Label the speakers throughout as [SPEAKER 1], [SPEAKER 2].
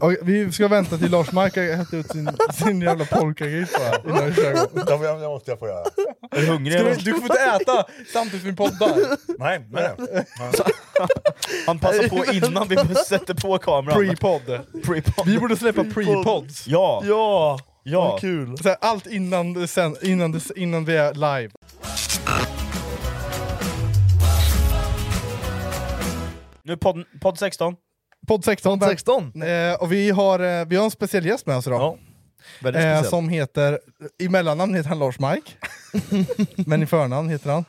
[SPEAKER 1] Okej, vi ska vänta till Lars Mark har hett ut sin, sin jävla polkagris bara. innan vi kör igång.
[SPEAKER 2] Ja, men Det måste jag få göra.
[SPEAKER 3] Är du hungrig?
[SPEAKER 1] Du,
[SPEAKER 3] eller?
[SPEAKER 1] du får inte äta samtidigt som vi poddar.
[SPEAKER 2] Nej, nej. Ja.
[SPEAKER 3] Han passar på innan vi sätter på kameran.
[SPEAKER 1] Pre-podd.
[SPEAKER 3] Pre-pod.
[SPEAKER 1] Vi borde släppa pre-pods.
[SPEAKER 3] Ja, ja,
[SPEAKER 1] Ja!
[SPEAKER 3] ja.
[SPEAKER 1] Kul. Så här, allt innan, det sen, innan, det, innan vi är live.
[SPEAKER 3] Nu podd, podd 16.
[SPEAKER 1] Podd 16. tack.
[SPEAKER 3] 16.
[SPEAKER 1] Eh, och vi har, eh, vi har en speciell gäst med oss idag.
[SPEAKER 3] Ja. Väldigt
[SPEAKER 1] eh,
[SPEAKER 3] speciellt.
[SPEAKER 1] som heter, i mellannamn heter han Lars Mark. men i förnamn heter han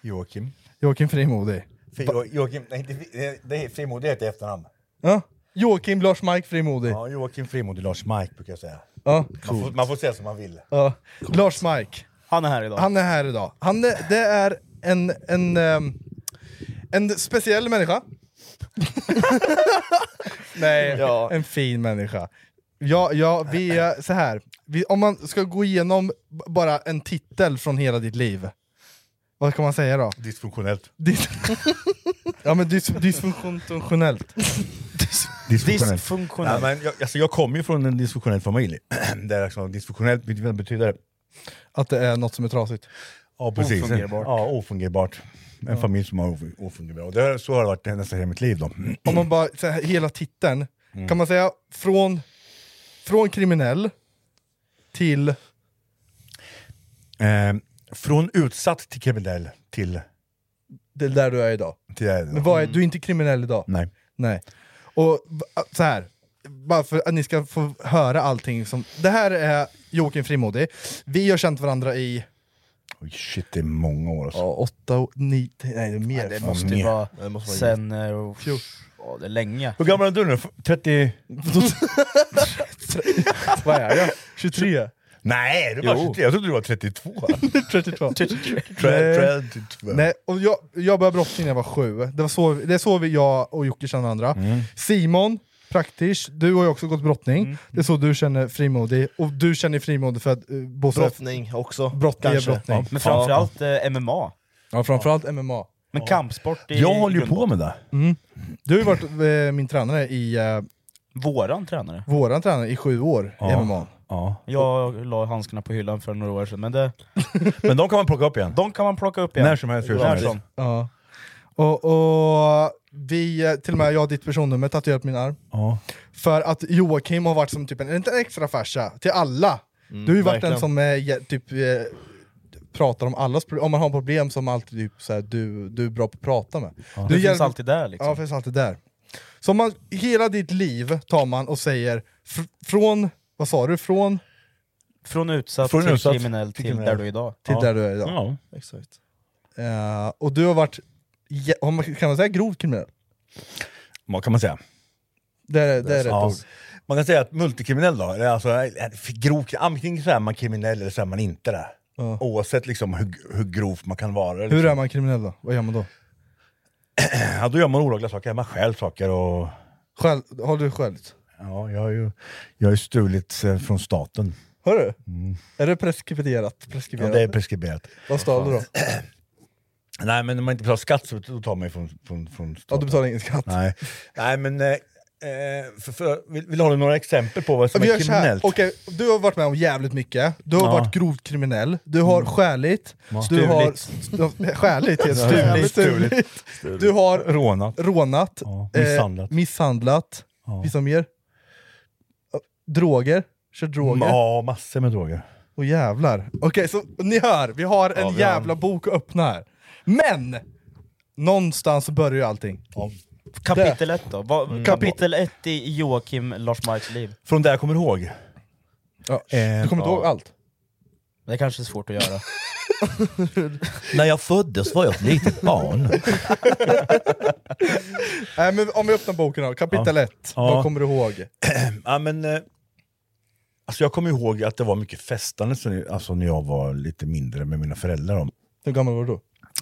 [SPEAKER 2] Joakim.
[SPEAKER 1] Joakim Frimodig.
[SPEAKER 2] Fri- Jo- Joakim, nej, inte, Fri- det- det är Frimodig heter efternamn.
[SPEAKER 1] Ja. Joakim Lars Mark Frimodig.
[SPEAKER 2] Ja, Joakim Frimodig, Lars Mike brukar jag säga.
[SPEAKER 1] Ja.
[SPEAKER 2] Man får, man får säga som man vill.
[SPEAKER 1] Ja. Lars Mark.
[SPEAKER 3] Han är här idag.
[SPEAKER 1] Han är här idag. Han är, det är en, en, ehm, en speciell människa. Nej,
[SPEAKER 3] Ja.
[SPEAKER 1] en fin människa. Ja, ja, vi är så här. Vi, om man ska gå igenom b- bara en titel från hela ditt liv, vad kan man säga då?
[SPEAKER 2] Dysfunktionellt.
[SPEAKER 1] Dis- ja men dys, dysfunktionellt.
[SPEAKER 2] Nej,
[SPEAKER 3] Dysfunktionell.
[SPEAKER 2] men jag, alltså, jag kommer ju från en dysfunktionell familj. Där liksom, dysfunktionellt vet du vad det betyder
[SPEAKER 1] Att det är något som är trasigt.
[SPEAKER 2] ja, precis.
[SPEAKER 3] Ofungerbart.
[SPEAKER 2] Ja, ofungerbart. En familj som har of- ofungerbart. Och det, har- så har det varit nästan hela mitt liv. Då.
[SPEAKER 1] Om man bara, så här, hela titeln, kan man säga från, från kriminell till...
[SPEAKER 2] Eh, från utsatt till kriminell till...
[SPEAKER 1] Det är där du är idag.
[SPEAKER 2] till
[SPEAKER 1] Men vad är, du är inte kriminell idag?
[SPEAKER 2] Nej.
[SPEAKER 1] Nej. Och b- så här. bara för att ni ska få höra allting som... Det här är Joakim Frimodig. Vi har känt varandra i...
[SPEAKER 2] Oj, shit, det är många år. Alltså.
[SPEAKER 1] Ja, åtta, och nio, tio- nej det är mer.
[SPEAKER 3] Det
[SPEAKER 1] fan.
[SPEAKER 3] måste
[SPEAKER 2] mer.
[SPEAKER 3] ju vara
[SPEAKER 1] Det måste vara
[SPEAKER 3] sen... eh, Ja, det är länge.
[SPEAKER 2] Hur gammal är du nu? 30?
[SPEAKER 1] Vad är jag? 23?
[SPEAKER 2] Nej, du var
[SPEAKER 3] Jo.
[SPEAKER 2] 23. Jag trodde du var 32.
[SPEAKER 1] 32? Nej.
[SPEAKER 2] 32.
[SPEAKER 1] Nej, och jag, jag började brottning när jag var sju. Det, var så, det är så vi, jag och Jocke känner varandra. Simon, praktisch, du har ju också gått brottning. Det är så du känner Frimodig. Och du känner Frimodig för att uh, Bosse...
[SPEAKER 4] Brottning också.
[SPEAKER 1] Brottning är
[SPEAKER 4] kanske.
[SPEAKER 1] brottning.
[SPEAKER 3] Men framförallt eh, MMA.
[SPEAKER 1] Ja, framförallt MMA.
[SPEAKER 3] Men kampsport i
[SPEAKER 2] Jag håller ju
[SPEAKER 3] grund-
[SPEAKER 2] på med det.
[SPEAKER 1] Du har ju varit eh, min tränare i, eh,
[SPEAKER 3] Våran tränare.
[SPEAKER 1] våran tränare i sju år i MMA.
[SPEAKER 2] Ja.
[SPEAKER 3] Jag la handskarna på hyllan för några år sedan, men det,
[SPEAKER 2] Men de kan man plocka upp igen.
[SPEAKER 3] de kan man plocka upp igen.
[SPEAKER 2] När som helst. hur som
[SPEAKER 3] När
[SPEAKER 2] helst.
[SPEAKER 3] som.
[SPEAKER 1] Ja. Och, och vi, eh, till och med jag har ditt personnummer tatuerat på min arm.
[SPEAKER 2] Ja.
[SPEAKER 1] För att Joakim har varit som typ en, inte en extra farsa till alla.
[SPEAKER 2] Mm,
[SPEAKER 1] du har ju varit den
[SPEAKER 4] verkligen.
[SPEAKER 1] som eh, ge- typ eh, pratar om allas problem, om man har problem som alltid typ såhär, du, du är bra på att prata med.
[SPEAKER 3] Du finns
[SPEAKER 1] hjälper-
[SPEAKER 3] alltid där liksom.
[SPEAKER 1] Ja, finns alltid där. Så man, hela ditt liv tar man och säger fr från, vad sa du, från
[SPEAKER 3] Från utsatt
[SPEAKER 2] Från
[SPEAKER 3] till
[SPEAKER 2] utsatt
[SPEAKER 3] kriminell
[SPEAKER 2] till
[SPEAKER 3] till där
[SPEAKER 2] kriminell.
[SPEAKER 3] du är idag.
[SPEAKER 1] till
[SPEAKER 2] Ja. Mm.
[SPEAKER 1] där du är idag.
[SPEAKER 2] Ja.
[SPEAKER 4] Exakt.
[SPEAKER 1] Eh, och du har varit, jä- om man- kan man säga grovt kriminell?
[SPEAKER 2] Vad kan man säga?
[SPEAKER 1] Det är, det är rätt
[SPEAKER 2] Ja.
[SPEAKER 1] ord.
[SPEAKER 2] Man kan säga att multikriminell då, det är alltså eh, grov, antingen så är man kriminell eller så är man inte det.
[SPEAKER 1] Ja.
[SPEAKER 2] Oavsett liksom hur, hur grovt man kan vara.
[SPEAKER 1] Hur
[SPEAKER 2] Liksom.
[SPEAKER 1] är man kriminell då? Vad gör man då?
[SPEAKER 2] Ja, då gör man olagliga saker, man stjäl saker och...
[SPEAKER 1] Själv, har du skält?
[SPEAKER 2] Ja, jag har ju, jag har ju stulit eh, från staten.
[SPEAKER 1] Har du? Är det preskriberat?
[SPEAKER 2] Mm. Ja,
[SPEAKER 1] preskriberat?
[SPEAKER 2] det är preskriberat.
[SPEAKER 1] Vad stal du då?
[SPEAKER 2] Nej, men om man inte betalar skatt så då tar man ju från, från, från
[SPEAKER 1] Ja,
[SPEAKER 2] staten.
[SPEAKER 1] du betalar ingen skatt.
[SPEAKER 2] Nej. Nej, men... Eh, eh, för, för, vill, vill du ha några exempel på vad som
[SPEAKER 1] Vi
[SPEAKER 2] är
[SPEAKER 1] gör så här.
[SPEAKER 2] kriminellt?
[SPEAKER 1] Okej, du har varit med om jävligt mycket, du har
[SPEAKER 2] Ja. Mm.
[SPEAKER 1] varit grovt kriminell, du har skäligt, du har... st- Skäligt? ja.
[SPEAKER 2] Stulit.
[SPEAKER 1] Stulit. Du har
[SPEAKER 2] Rånat.
[SPEAKER 1] rånat,
[SPEAKER 2] Ja,
[SPEAKER 1] eh,
[SPEAKER 2] misshandlat.
[SPEAKER 1] misshandlat.
[SPEAKER 2] Ja.
[SPEAKER 1] Finns det mer? Droger? Kör droger?
[SPEAKER 2] Ja, massor med droger.
[SPEAKER 1] Åh jävlar. Okej, så ni hör, vi har en
[SPEAKER 2] vi har
[SPEAKER 1] jävla bok att öppna här. Men! Någonstans börjar ju allting.
[SPEAKER 3] Kapitel 1 då? Vad- Kapitel 1 i Joakim Lars Marks liv.
[SPEAKER 2] Från det jag kommer ihåg. Eh,
[SPEAKER 1] du kommer inte ihåg allt?
[SPEAKER 3] Det kanske är svårt att göra.
[SPEAKER 4] När jag föddes var jag ett litet barn.
[SPEAKER 1] Nej men om vi öppnar boken då, kapitel 1.
[SPEAKER 2] Ja.
[SPEAKER 1] Vad kommer du ihåg?
[SPEAKER 2] Ja, men, eh, alltså jag kommer ihåg att det var mycket festande så, alltså, när jag var lite mindre med mina föräldrar. Då.
[SPEAKER 1] Hur gammal var du då?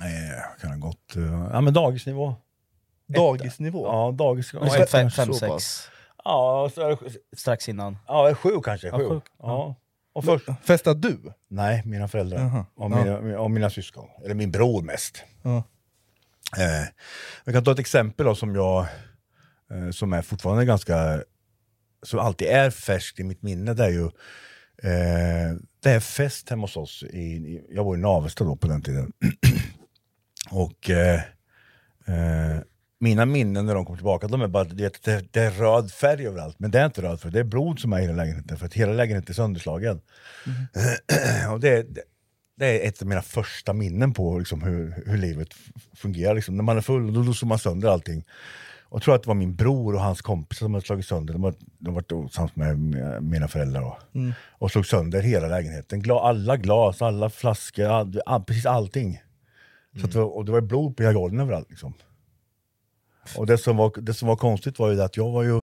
[SPEAKER 2] Eh, kan ha gått... eh, ja, men dagisnivå.
[SPEAKER 5] Dagisnivå?
[SPEAKER 2] Ja, dagis...
[SPEAKER 3] Ja,
[SPEAKER 2] ja,
[SPEAKER 3] fem, fem,
[SPEAKER 5] så
[SPEAKER 3] sex.
[SPEAKER 5] pass.
[SPEAKER 2] Ja, så är det-
[SPEAKER 3] Strax innan.
[SPEAKER 2] ja, sju kanske.
[SPEAKER 3] Ja,
[SPEAKER 2] Sju. Ja,
[SPEAKER 3] sjuk.
[SPEAKER 2] Och först,
[SPEAKER 1] Festade du?
[SPEAKER 2] Nej, mina föräldrar.
[SPEAKER 1] Jaha.
[SPEAKER 2] Och, mina, och mina syskon. Eller min bror mest.
[SPEAKER 1] Ja.
[SPEAKER 2] Eh, jag kan ta ett exempel då, som jag eh, som är fortfarande ganska som alltid är färskt i mitt minne. Det är ju eh, det är fest hemma hos oss. I, i, jag var i Navestad då på den tiden. och eh, eh, mina minnen när de kom tillbaka, de är bara, du vet, det, det är röd färg överallt. Men det är inte röd färg, det är blod som är i hela lägenheten. För att hela lägenheten är sönderslagen. och det, det, det är ett av mina första minnen på liksom, hur, hur livet f- fungerar. Liksom. När man är full, då, då slår man sönder allting. Och jag tror att det var min bror och hans kompisar som hade slagit sönder. De var, de var osams med med mina föräldrar. Och,
[SPEAKER 1] Mm.
[SPEAKER 2] och slog sönder hela lägenheten. Gla, alla glas, alla flaskor, all, all, precis allting. Så att det
[SPEAKER 1] Mm.
[SPEAKER 2] var, och det var blod på hela golven överallt. Liksom. Och det som, var, det som var konstigt var ju det att jag var ju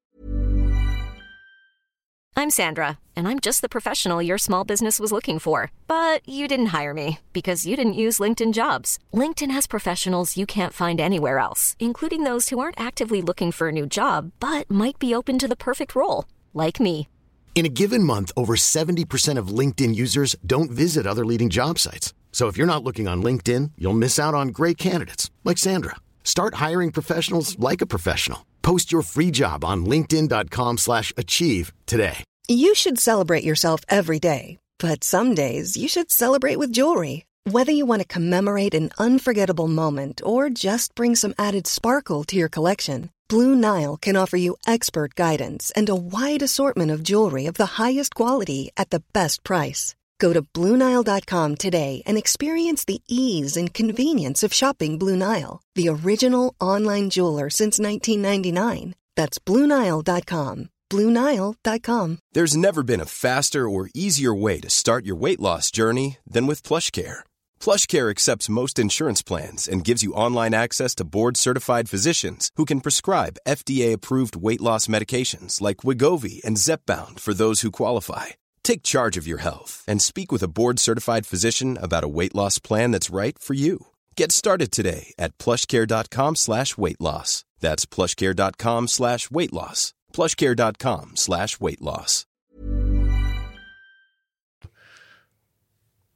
[SPEAKER 6] I'm Sandra, and I'm just the professional your small business was looking for. But you didn't hire me because you didn't use LinkedIn jobs. LinkedIn has professionals you can't find anywhere else, including those who aren't actively looking for a new job but might be open to the perfect role, like me.
[SPEAKER 7] In a given month, over 70% of LinkedIn users don't visit other leading job sites. So if you're not looking on LinkedIn, you'll miss out on great candidates like Sandra. Start hiring professionals like a professional. Post your free job on linkedin.com/achieve slash achieve today.
[SPEAKER 8] You should celebrate yourself every day, but some days you should celebrate with jewelry. Whether you want to commemorate an unforgettable moment or just bring some added sparkle to your collection, Blue Nile can offer you expert guidance and a wide assortment of jewelry of the highest quality at the best price. Go to BlueNile.com today and experience the ease and convenience of shopping Blue Nile, the original online jeweler since 1999. That's BlueNile.com. BlueNile.com.
[SPEAKER 9] There's never been a faster or easier way to start your weight loss journey than with PlushCare. PlushCare accepts most insurance plans and gives you online access to board-certified physicians who can prescribe FDA-approved weight loss medications like Wigovi and Zepbound for those who qualify. Take charge of your health and speak with a board-certified physician about a weight loss plan that's right for you. Get started today at plushcare.com slash weight loss. That's plushcare.com slash weight loss. plushcare.com slash weight loss.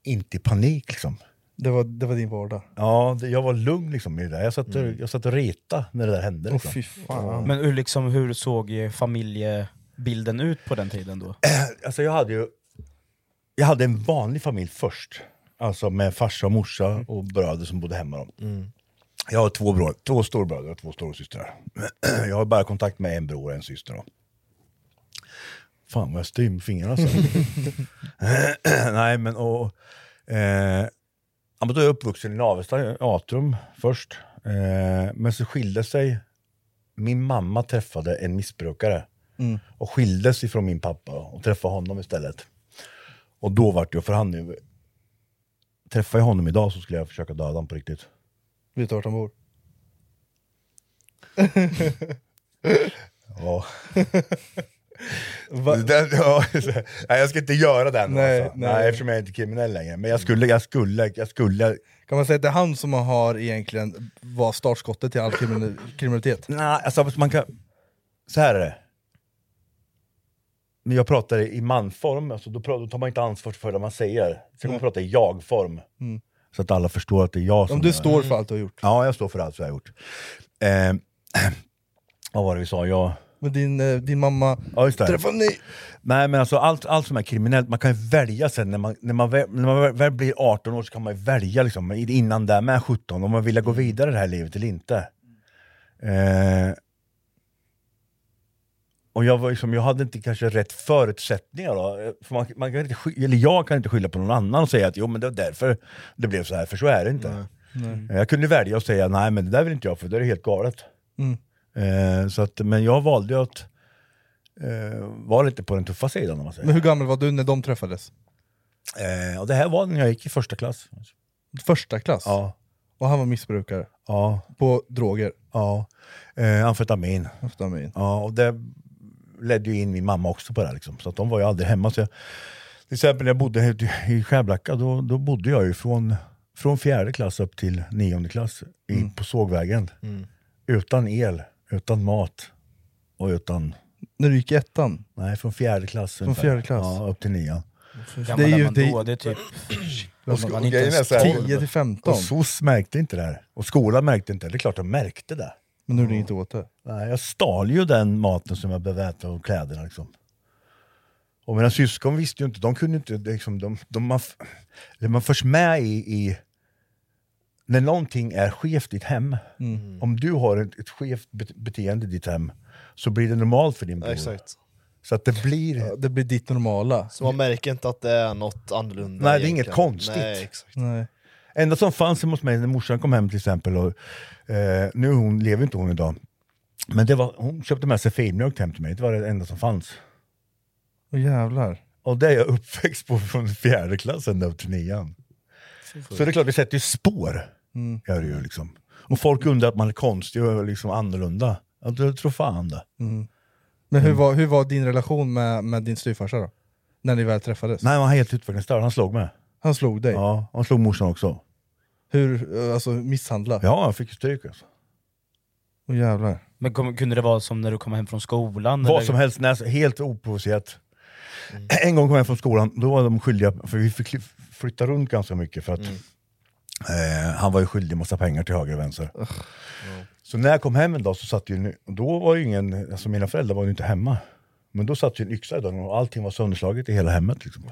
[SPEAKER 2] inte i panik liksom.
[SPEAKER 1] Det var, det var din vardag.
[SPEAKER 2] Ja, det, jag var lugn liksom i det där. Jag satt, och- jag satt och reta när det där hände.
[SPEAKER 1] Åh
[SPEAKER 2] Liksom.
[SPEAKER 1] fy fan.
[SPEAKER 3] Men hur, liksom, hur såg ju familjebilden ut på den tiden då?
[SPEAKER 2] alltså jag hade ju... Jag hade en vanlig familj först. Alltså med farsa och morsa och bröder som bodde hemma. Då. Jag har två, bror, två storbröder och två storasystrar. Jag har bara kontakt med en bror och en syster. Då. Fan vad jag styr med fingrarna så. Nej men och... Eh, ja, men då är jag uppvuxen i Navestad, i Atrum först. Eh, men så skilde sig... Min mamma träffade en missbrukare och skildes ifrån min pappa och träffade honom istället. Och då vart jag, för han nu... Träffar jag honom idag så skulle jag försöka döda honom på riktigt.
[SPEAKER 1] Vet du vart han bor?
[SPEAKER 2] Ja. Den, ja, nej, jag ska inte göra den
[SPEAKER 1] Nej,
[SPEAKER 2] alltså.
[SPEAKER 1] nej.
[SPEAKER 2] nej. Mm. eftersom jag är inte kriminell längre. Men jag skulle, jag skulle, jag skulle...
[SPEAKER 1] Kan man säga att det är han som har egentligen var startskottet till all krimin- kriminalitet?
[SPEAKER 2] Nej, alltså man kan... Så här är det. När jag pratar i manform, alltså, då, pra- då tar man inte ansvar för det man säger. Så kan man prata i jag-form. Så att alla förstår att det är jag som...
[SPEAKER 1] Mm. Om du
[SPEAKER 2] är-
[SPEAKER 1] står för allt du har gjort.
[SPEAKER 2] Ja, jag står för allt jag har gjort. Eh, vad var det vi sa? Jag...
[SPEAKER 1] Men din, eh, din mamma...
[SPEAKER 2] Ja, just det.
[SPEAKER 1] Träffade ni?
[SPEAKER 2] Nej men alltså allt, allt som är kriminellt, man kan ju välja sen när man, när man, väl, när man väl blir 18 år så kan man ju välja liksom, men innan där med 17, om man vill
[SPEAKER 1] Mm.
[SPEAKER 2] gå vidare i det här livet eller inte. Eh, och jag, var liksom, jag hade inte kanske rätt förutsättningar då. eh, För man, man kan inte, sky- eller jag kan inte skylla på någon annan och säga att jo men det var därför det blev så här, för så är det inte. Eh, Jag kunde välja att säga nej men det där vill inte jag för det är helt galet. Eh, så att, men jag valde ju att eh, vara lite på den tuffa sidan om man säger.
[SPEAKER 1] Men hur gammal var du när de träffades?
[SPEAKER 2] Eh, och det här var när jag gick i första klass.
[SPEAKER 1] Första klass?
[SPEAKER 2] Ja,
[SPEAKER 1] Och han var missbrukare?
[SPEAKER 2] ja,
[SPEAKER 1] På droger?
[SPEAKER 2] ja. Eh, amfetamin.
[SPEAKER 1] Amfetamin.
[SPEAKER 2] Ja, och det ledde ju in min mamma också på det här, liksom. Så att de var ju aldrig hemma. Så jag, till exempel när jag bodde i, i Skärblacka, då, då bodde jag ju från från fjärde klass upp till nionde klass i,
[SPEAKER 1] Mm.
[SPEAKER 2] på sågvägen.
[SPEAKER 1] Mm.
[SPEAKER 2] Utan el, utan mat och utan...
[SPEAKER 1] När du gick i ettan?
[SPEAKER 2] Nej, från fjärde klass.
[SPEAKER 1] Från
[SPEAKER 2] ungefär.
[SPEAKER 1] fjärde klass.
[SPEAKER 2] Ja, upp till nian.
[SPEAKER 3] gammal är man då? Det är typ...
[SPEAKER 2] Och
[SPEAKER 3] man
[SPEAKER 2] sko-
[SPEAKER 3] var
[SPEAKER 2] och
[SPEAKER 3] inte
[SPEAKER 2] grejen är
[SPEAKER 3] ens
[SPEAKER 2] så här-
[SPEAKER 3] 12.
[SPEAKER 2] Och SOS märkte inte det här. Och skolan märkte inte det. Det är klart de märkte det.
[SPEAKER 1] Men nu är det inte åt det.
[SPEAKER 2] Nej, jag stal ju den maten som jag beväpnade och kläderna liksom. Och mina syskon visste ju inte, de kunde inte, det liksom, de, de, man, f- eller man förs med i, i när någonting är skevt i ditt hem.
[SPEAKER 10] Mm.
[SPEAKER 2] Om du har ett, ett skevt bet- beteende i ditt hem så blir det normalt för din bror.
[SPEAKER 10] Exakt.
[SPEAKER 2] Så att det blir...
[SPEAKER 1] det blir ditt normala.
[SPEAKER 10] Så man märker inte att det är något annorlunda.
[SPEAKER 2] Nej, det är
[SPEAKER 10] egentligen.
[SPEAKER 2] inget konstigt.
[SPEAKER 10] Nej, exakt.
[SPEAKER 1] Nej.
[SPEAKER 2] enda som fanns hemma hos mig när morsan kom hem till exempel, och, eh, nu är hon, lever inte hon idag, men det var, hon köpte med sig filmjölk hem till mig, det var det enda som fanns.
[SPEAKER 1] Åh jävlar.
[SPEAKER 2] Och det är jag uppväxt på från fjärde klass ända upp till nian. Så det är klart, det sätter ju spår.
[SPEAKER 1] Mm.
[SPEAKER 2] Gör det ju, liksom. Och folk undrar att man är konstig och liksom annorlunda. Ja, du tror fan det.
[SPEAKER 1] Mm. Men hur var, hur var din relation med, med din styvfarsa då? När ni väl träffades?
[SPEAKER 2] Nej, han var helt utvecklingsstörd, han slog mig.
[SPEAKER 1] Han slog dig?
[SPEAKER 2] Ja, han slog morsan också.
[SPEAKER 1] Hur, eh, alltså misshandla?
[SPEAKER 2] Ja, jag fick ju stryk alltså.
[SPEAKER 1] Åh jävlar.
[SPEAKER 3] Men kom, kunde det vara som när du kom hem från skolan?
[SPEAKER 2] Vad som helst, när, helt oprovocerat. En gång kom jag från skolan, då var de skyldiga, för vi fick flytta runt ganska mycket för att eh, han var ju skyldig massa pengar till höger och vänster. Så när jag kom hem en dag så satt ju, en- och då var ju ingen, alltså mina föräldrar var ju inte hemma. Men då satt ju en yxa i dörren och allting var sönderslaget i hela hemmet. Liksom.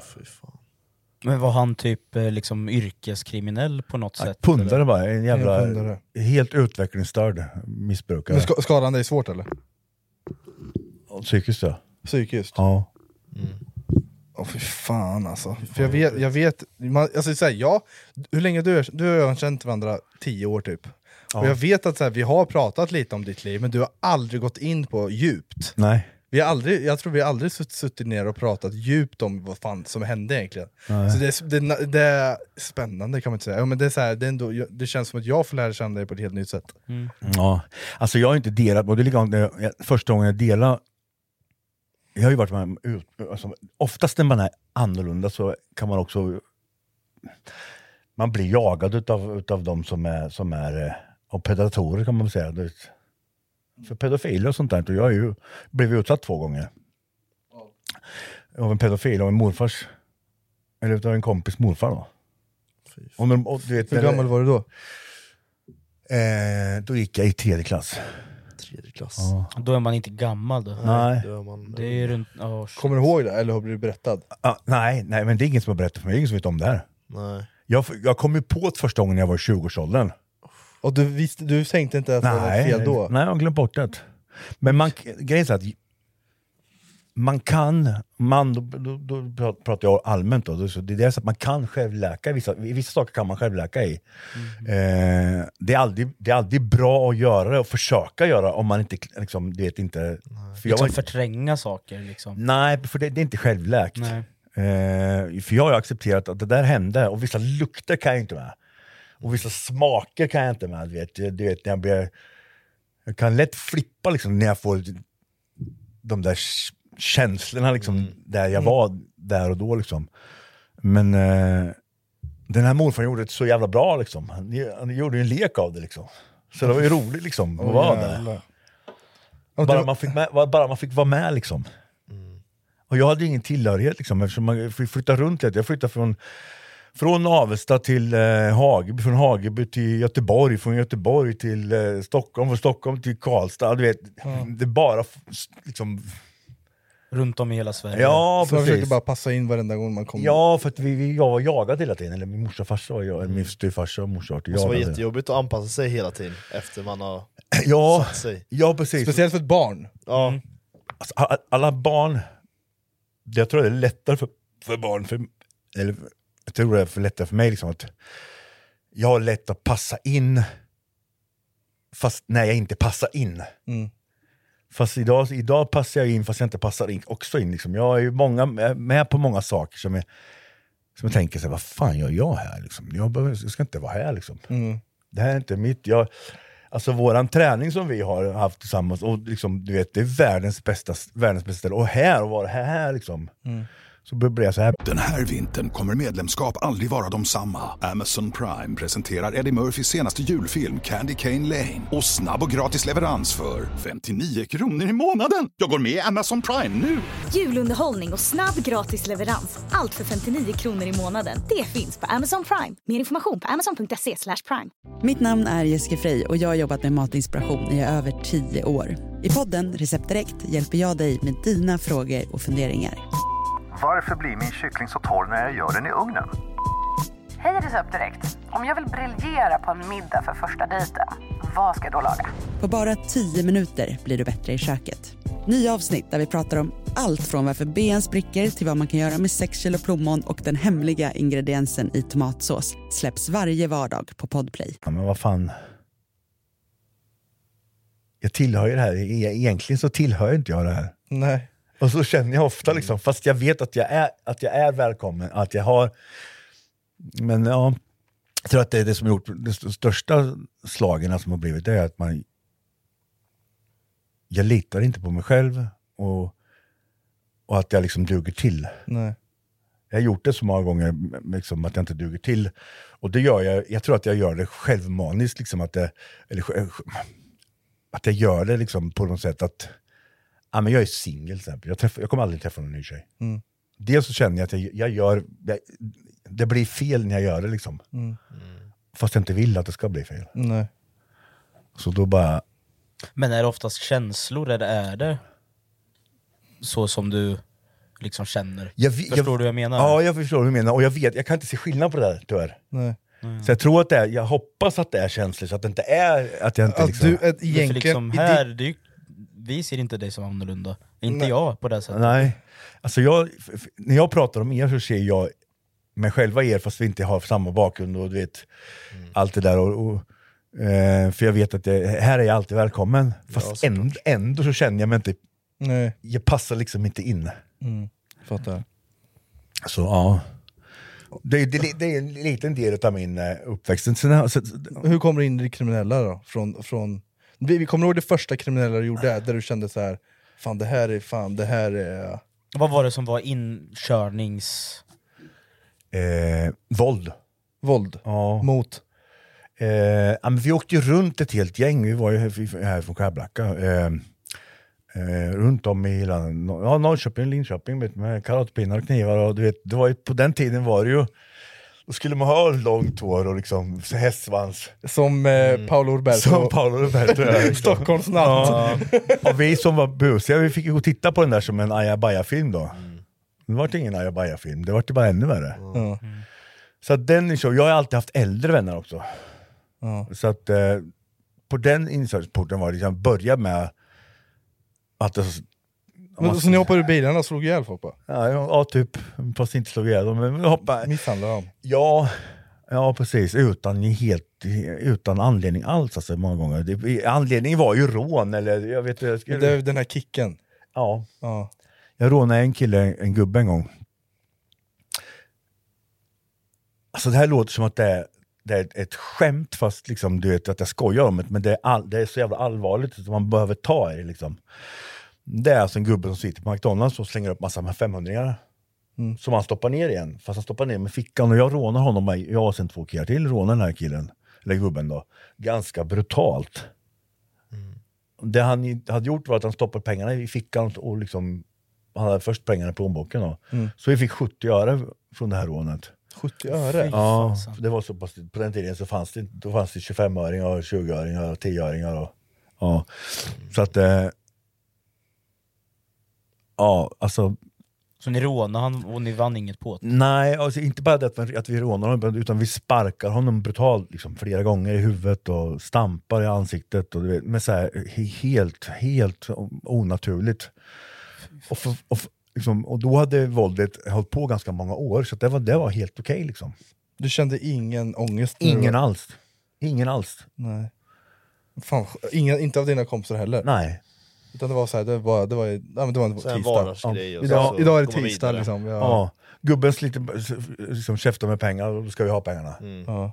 [SPEAKER 3] Men var han typ eh, liksom yrkeskriminell på något sätt?
[SPEAKER 2] Pundare
[SPEAKER 3] eller?
[SPEAKER 2] bara, en jävla,
[SPEAKER 3] En pundare.
[SPEAKER 2] helt utvecklingsstörd missbrukare.
[SPEAKER 1] Men ska, skadade han dig svårt eller?
[SPEAKER 2] Psykiskt ja.
[SPEAKER 1] Psykiskt?
[SPEAKER 2] Ja.
[SPEAKER 1] Åh fy fan alltså. För jag vet, jag vet man, alltså, så här, ja, hur länge du, är- du och jag har känt varandra, tio år typ.
[SPEAKER 2] Ja.
[SPEAKER 1] Och jag vet att så här, vi har pratat lite om ditt liv, men du har aldrig gått in på djupt.
[SPEAKER 2] Nej.
[SPEAKER 1] Vi har aldrig, jag tror vi har aldrig sutt- suttit ner och pratat djupt om vad fan som hände egentligen.
[SPEAKER 2] Nej.
[SPEAKER 1] Så det, är s- det, na- det är spännande kan man inte säga. Ja, men det, är så här, det, är ändå, det känns som att jag får lära känna dig på ett helt nytt sätt.
[SPEAKER 2] Ja, alltså jag har inte delat, och det är likadant när jag- jag, första gången jag delade, jag har ju varit med om ut, alltså, oftast när man är annorlunda så kan man också, man blir jagad utav, utav de som är, som är, eh, och predatorer kan man väl säga. Du vet. För pedofiler och sånt där, och jag är ju, blev ju utsatt två gånger. Av en pedofil, av en morfars, eller utav en kompis morfar då. Och när, och, du vet,
[SPEAKER 1] Hur
[SPEAKER 2] när det-
[SPEAKER 1] gammal var du då?
[SPEAKER 2] Eh, då gick jag i tredje klass.
[SPEAKER 10] Tredje klass.
[SPEAKER 3] Då är man inte gammal då.
[SPEAKER 2] Nej.
[SPEAKER 10] Då är man...
[SPEAKER 3] Det är runt... ja,
[SPEAKER 1] Kommer du ihåg det, eller har du blivit berättad?
[SPEAKER 2] Ah, nej, nej, men det är ingen som har berättat för mig, det är ingen som vet om det här.
[SPEAKER 10] Nej.
[SPEAKER 2] Jag, jag kom ju på det första gången när jag var i 20-årsåldern.
[SPEAKER 1] Och du, visste, du tänkte inte att det var
[SPEAKER 2] Nej,
[SPEAKER 1] fel då?
[SPEAKER 2] nej, jag har glömt bort det. Men man, grejen är så att man kan, man, då, då, då pra- pratar jag allmänt då, så det är så att man kan självläka, i vissa, i vissa saker kan man självläka i.
[SPEAKER 1] Mm.
[SPEAKER 2] Eh, det, är aldrig, det är alltid bra att göra det och försöka göra om man inte, liksom, du vet inte. För jag
[SPEAKER 3] liksom
[SPEAKER 2] var-
[SPEAKER 3] förtränga saker liksom.
[SPEAKER 2] Nej, för det, det är inte självläkt.
[SPEAKER 3] Nej.
[SPEAKER 2] Eh, för jag har ju accepterat att det där hände och vissa lukter kan jag inte med. Och vissa smaker kan jag inte med. Du vet, du vet när jag, blir, jag kan lätt flippa liksom, när jag får de där k- känslorna liksom,
[SPEAKER 3] Mm.
[SPEAKER 2] där jag var där och då. Liksom. Men eh, den här morfar gjorde det så jävla bra. Liksom. Han, han gjorde ju en lek av det. Liksom. Så det var ju roligt liksom, att
[SPEAKER 1] Åh,
[SPEAKER 2] vara där.
[SPEAKER 1] jävlar.
[SPEAKER 2] Bara man, fick med, bara man fick vara med liksom.
[SPEAKER 1] Mm.
[SPEAKER 2] Och jag hade ju ingen tillhörighet liksom, eftersom man fick flytta runt lite. Jag flyttade från, från Avesta till eh, Hageby, från Hageby till Göteborg, från Göteborg till eh, Stockholm, från Stockholm till Karlstad. Du vet, det bara f- s- liksom...
[SPEAKER 3] Runt om i hela Sverige.
[SPEAKER 2] Ja,
[SPEAKER 1] så man försökte
[SPEAKER 2] precis.
[SPEAKER 1] bara passa in varenda gång man kom.
[SPEAKER 2] Ja, för att vi, vi, jag var jagad hela tiden. Eller min morsa och farsa var jag,
[SPEAKER 1] Mm.
[SPEAKER 2] min styvfarsa och morsa var
[SPEAKER 10] Det måste vara
[SPEAKER 2] jagade.
[SPEAKER 10] jättejobbigt att anpassa sig hela tiden efter man har
[SPEAKER 2] Ja,
[SPEAKER 10] satt sig.
[SPEAKER 2] ja, precis.
[SPEAKER 1] Speciellt för ett barn. Mm.
[SPEAKER 10] Ja.
[SPEAKER 2] Alltså, a- a- alla barn, jag tror det är lättare för, för barn, för, eller jag tror det är för lättare för mig liksom att jag har lätt att passa in fast när jag inte passar in.
[SPEAKER 1] Mm.
[SPEAKER 2] Fast idag, idag passar jag in fast jag inte passar in, också in. Liksom. Jag är ju många, är med på många saker som jag, som jag tänker, så här, vad fan gör jag här? Liksom? Jag, behöver, jag ska inte vara här liksom.
[SPEAKER 1] Mm.
[SPEAKER 2] Det här är inte mitt. Jag, alltså våran träning som vi har haft tillsammans, och liksom, du vet, det är världens bästa, världens bästa ställe. Och här, och vara här, här liksom. Så blir jag så här.
[SPEAKER 11] Den här vintern kommer medlemskap aldrig vara de samma. Amazon Prime presenterar Eddie Murphys senaste julfilm Candy Cane Lane. Och snabb och gratis leverans för 59 kronor i månaden. Jag går med i Amazon Prime nu!
[SPEAKER 12] Julunderhållning och snabb gratis leverans. Allt för 59 kronor i månaden. Det finns på Amazon Prime. Mer information på amazon.se slash prime.
[SPEAKER 13] Mitt namn är Jessica Frey och jag har jobbat med matinspiration i över tio år. I podden Recept Direkt hjälper jag dig med dina frågor och funderingar.
[SPEAKER 14] Varför blir min kyckling så torr när jag gör den i ugnen?
[SPEAKER 15] Hej Recept Direkt! Om jag vill briljera på en middag för första dejten, vad ska jag då laga?
[SPEAKER 13] På bara tio minuter blir du bättre i köket. Nya avsnitt där vi pratar om allt från varför ben spricker till vad man kan göra med 6 kilo plommon och den hemliga ingrediensen i tomatsås släpps varje vardag på Podplay.
[SPEAKER 2] Ja, men vad fan. Jag tillhör ju det här. E- Egentligen så tillhör inte jag det här.
[SPEAKER 1] Nej.
[SPEAKER 2] Och så känner jag ofta, liksom, fast jag vet att jag, är, att jag är välkommen, att jag har... Men ja, jag tror att det är det som har gjort de st- största slagen som har blivit, det är att man... Jag litar inte på mig själv och, och att jag liksom duger till.
[SPEAKER 1] Nej.
[SPEAKER 2] Jag har gjort det så många gånger, m- liksom, att jag inte duger till. Och det gör jag, jag tror att jag gör det självmaniskt, liksom, att, det, eller, sj- att jag gör det liksom, på något sätt att... Ja, men jag är singel till exempel. Jag, träffar, jag kommer aldrig träffa någon ny tjej.
[SPEAKER 1] Mm.
[SPEAKER 2] Dels så känner jag att jag, jag gör... Jag, det blir fel när jag gör det liksom.
[SPEAKER 1] Mm.
[SPEAKER 2] Fast jag inte vill att det ska bli fel.
[SPEAKER 1] Nej.
[SPEAKER 2] Så då bara...
[SPEAKER 3] Men är det oftast känslor eller är det så som du liksom känner?
[SPEAKER 2] Jag, vi-
[SPEAKER 3] Förstår du vad jag menar?
[SPEAKER 2] Ja, jag förstår hur du menar. Och jag vet, jag kan inte se skillnad på det där tyvärr.
[SPEAKER 1] Nej.
[SPEAKER 3] Mm.
[SPEAKER 2] Så jag tror att det är, jag hoppas att det är känslor, så att det inte är... Att jag inte liksom...
[SPEAKER 3] För liksom här, det är ju, vi ser inte dig som annorlunda. Inte
[SPEAKER 2] Nej.
[SPEAKER 3] jag på det sättet.
[SPEAKER 2] Nej. Alltså jag, f- f- när jag pratar om er så ser jag mig själva i er fast vi inte har samma bakgrund och du vet,
[SPEAKER 3] Mm.
[SPEAKER 2] allt det där. Och, och, eh, för jag vet att det, här är jag alltid välkommen. Fast änd, ändå så känner jag mig inte...
[SPEAKER 1] Nej.
[SPEAKER 2] Jag passar liksom inte in.
[SPEAKER 1] Mm. Fattar.
[SPEAKER 2] Så Alltså, ja. Det, är- det, är- det är en liten del av min eh, uppväxt. Sen- sen- sen-
[SPEAKER 1] Hur kommer du in i det kriminella då? Från, från... Vi, vi kommer ihåg det första kriminella du gjorde, där du kände så här. fan det här är, fan det här är... eh,
[SPEAKER 3] Vad var det som var inkörnings...
[SPEAKER 2] Eh, våld.
[SPEAKER 1] Våld?
[SPEAKER 2] Ja.
[SPEAKER 1] Mot?
[SPEAKER 2] Eh, ja, men vi åkte ju runt ett helt gäng, vi var ju här, här från Skärblacka. Eh, eh, runt om i hela Nor- ja, Norrköping, Linköping vet, med karatepinnar och knivar. Och, du vet, det var ju, på den tiden var det ju, då skulle man ha långt hår och liksom, så hästsvans.
[SPEAKER 1] Som eh, Paolo Roberto.
[SPEAKER 2] Mm. Som Paolo Roberto. ja, liksom.
[SPEAKER 1] Stockholms natt.
[SPEAKER 2] Ja. Och vi som var busiga, vi fick ju gå och titta på den där som en ajabaja-film då. Det vart ingen ajabaja-film, det vart ju bara ännu värre.
[SPEAKER 1] Ja.
[SPEAKER 2] Så att den är så, jag har alltid haft äldre vänner också.
[SPEAKER 1] Ja.
[SPEAKER 2] Så att eh, på den insatsporten var det liksom, börja med att det,
[SPEAKER 1] Men, så ni hoppade ur bilen och slog ihjäl folk? bara?
[SPEAKER 2] ja, ja, typ, fast inte slog ihjäl dem. Men hoppa,
[SPEAKER 1] Misshandlade dem?
[SPEAKER 2] Ja, ja precis. Utan, helt, utan anledning alls alltså, många gånger. Det, anledningen var ju rån eller jag vet jag skulle-
[SPEAKER 1] Det är den här kicken?
[SPEAKER 2] Ja.
[SPEAKER 1] ja.
[SPEAKER 2] Jag rånade en kille, en gubbe en gång. Alltså det här låter som att det är, det är ett skämt fast liksom, du vet att jag skojar om det, men det är, all, det är så jävla allvarligt så man behöver ta i det liksom. Det är alltså en gubbe som sitter på McDonalds och slänger upp massa 500 som han stoppar ner igen. Fast han stoppar ner med fickan och jag rånar honom, och jag och sen två killar till rånar den här killen, eller gubben då, ganska brutalt. Det han i- hade gjort var att han stoppade pengarna i fickan och liksom, han hade först pengarna i plånboken. Då.
[SPEAKER 1] Mm.
[SPEAKER 2] Så vi fick 70 öre från det här rånet.
[SPEAKER 1] 70 öre?
[SPEAKER 2] Ja, för det var så pass, på den tiden så fanns det, då fanns det 25-öringar, och 20-öringar och 10-öringar. Och, ja. Så att... Eh, ja, alltså...
[SPEAKER 3] Så ni rånade han och ni vann inget på det?
[SPEAKER 2] Nej, alltså inte bara det att vi, att vi rånar honom, utan vi sparkar honom brutalt liksom, flera gånger i huvudet och stampar i ansiktet. Och, du vet, men så här, he- helt, helt onaturligt. Och, för, och, för, liksom, och då hade våldet hållit på ganska många år, så att det, var, det var helt okej. liksom.
[SPEAKER 1] Du kände ingen ångest? när du
[SPEAKER 2] Ingen
[SPEAKER 1] var-
[SPEAKER 2] alls. Ingen alls.
[SPEAKER 1] Nej. Fan, inga, inte av dina kompisar heller?
[SPEAKER 2] Nej.
[SPEAKER 1] Utan det var så här, det var, det var, ja, men det var en
[SPEAKER 10] Så en
[SPEAKER 1] tisdag.
[SPEAKER 10] vardagsgrej och så
[SPEAKER 1] Idag,
[SPEAKER 10] går
[SPEAKER 1] idag är det
[SPEAKER 10] man vidare.
[SPEAKER 1] tisdag liksom. Ja.
[SPEAKER 2] Ja. Gubben sliter, liksom, käftar med pengar och då ska vi ha pengarna.
[SPEAKER 1] Ja.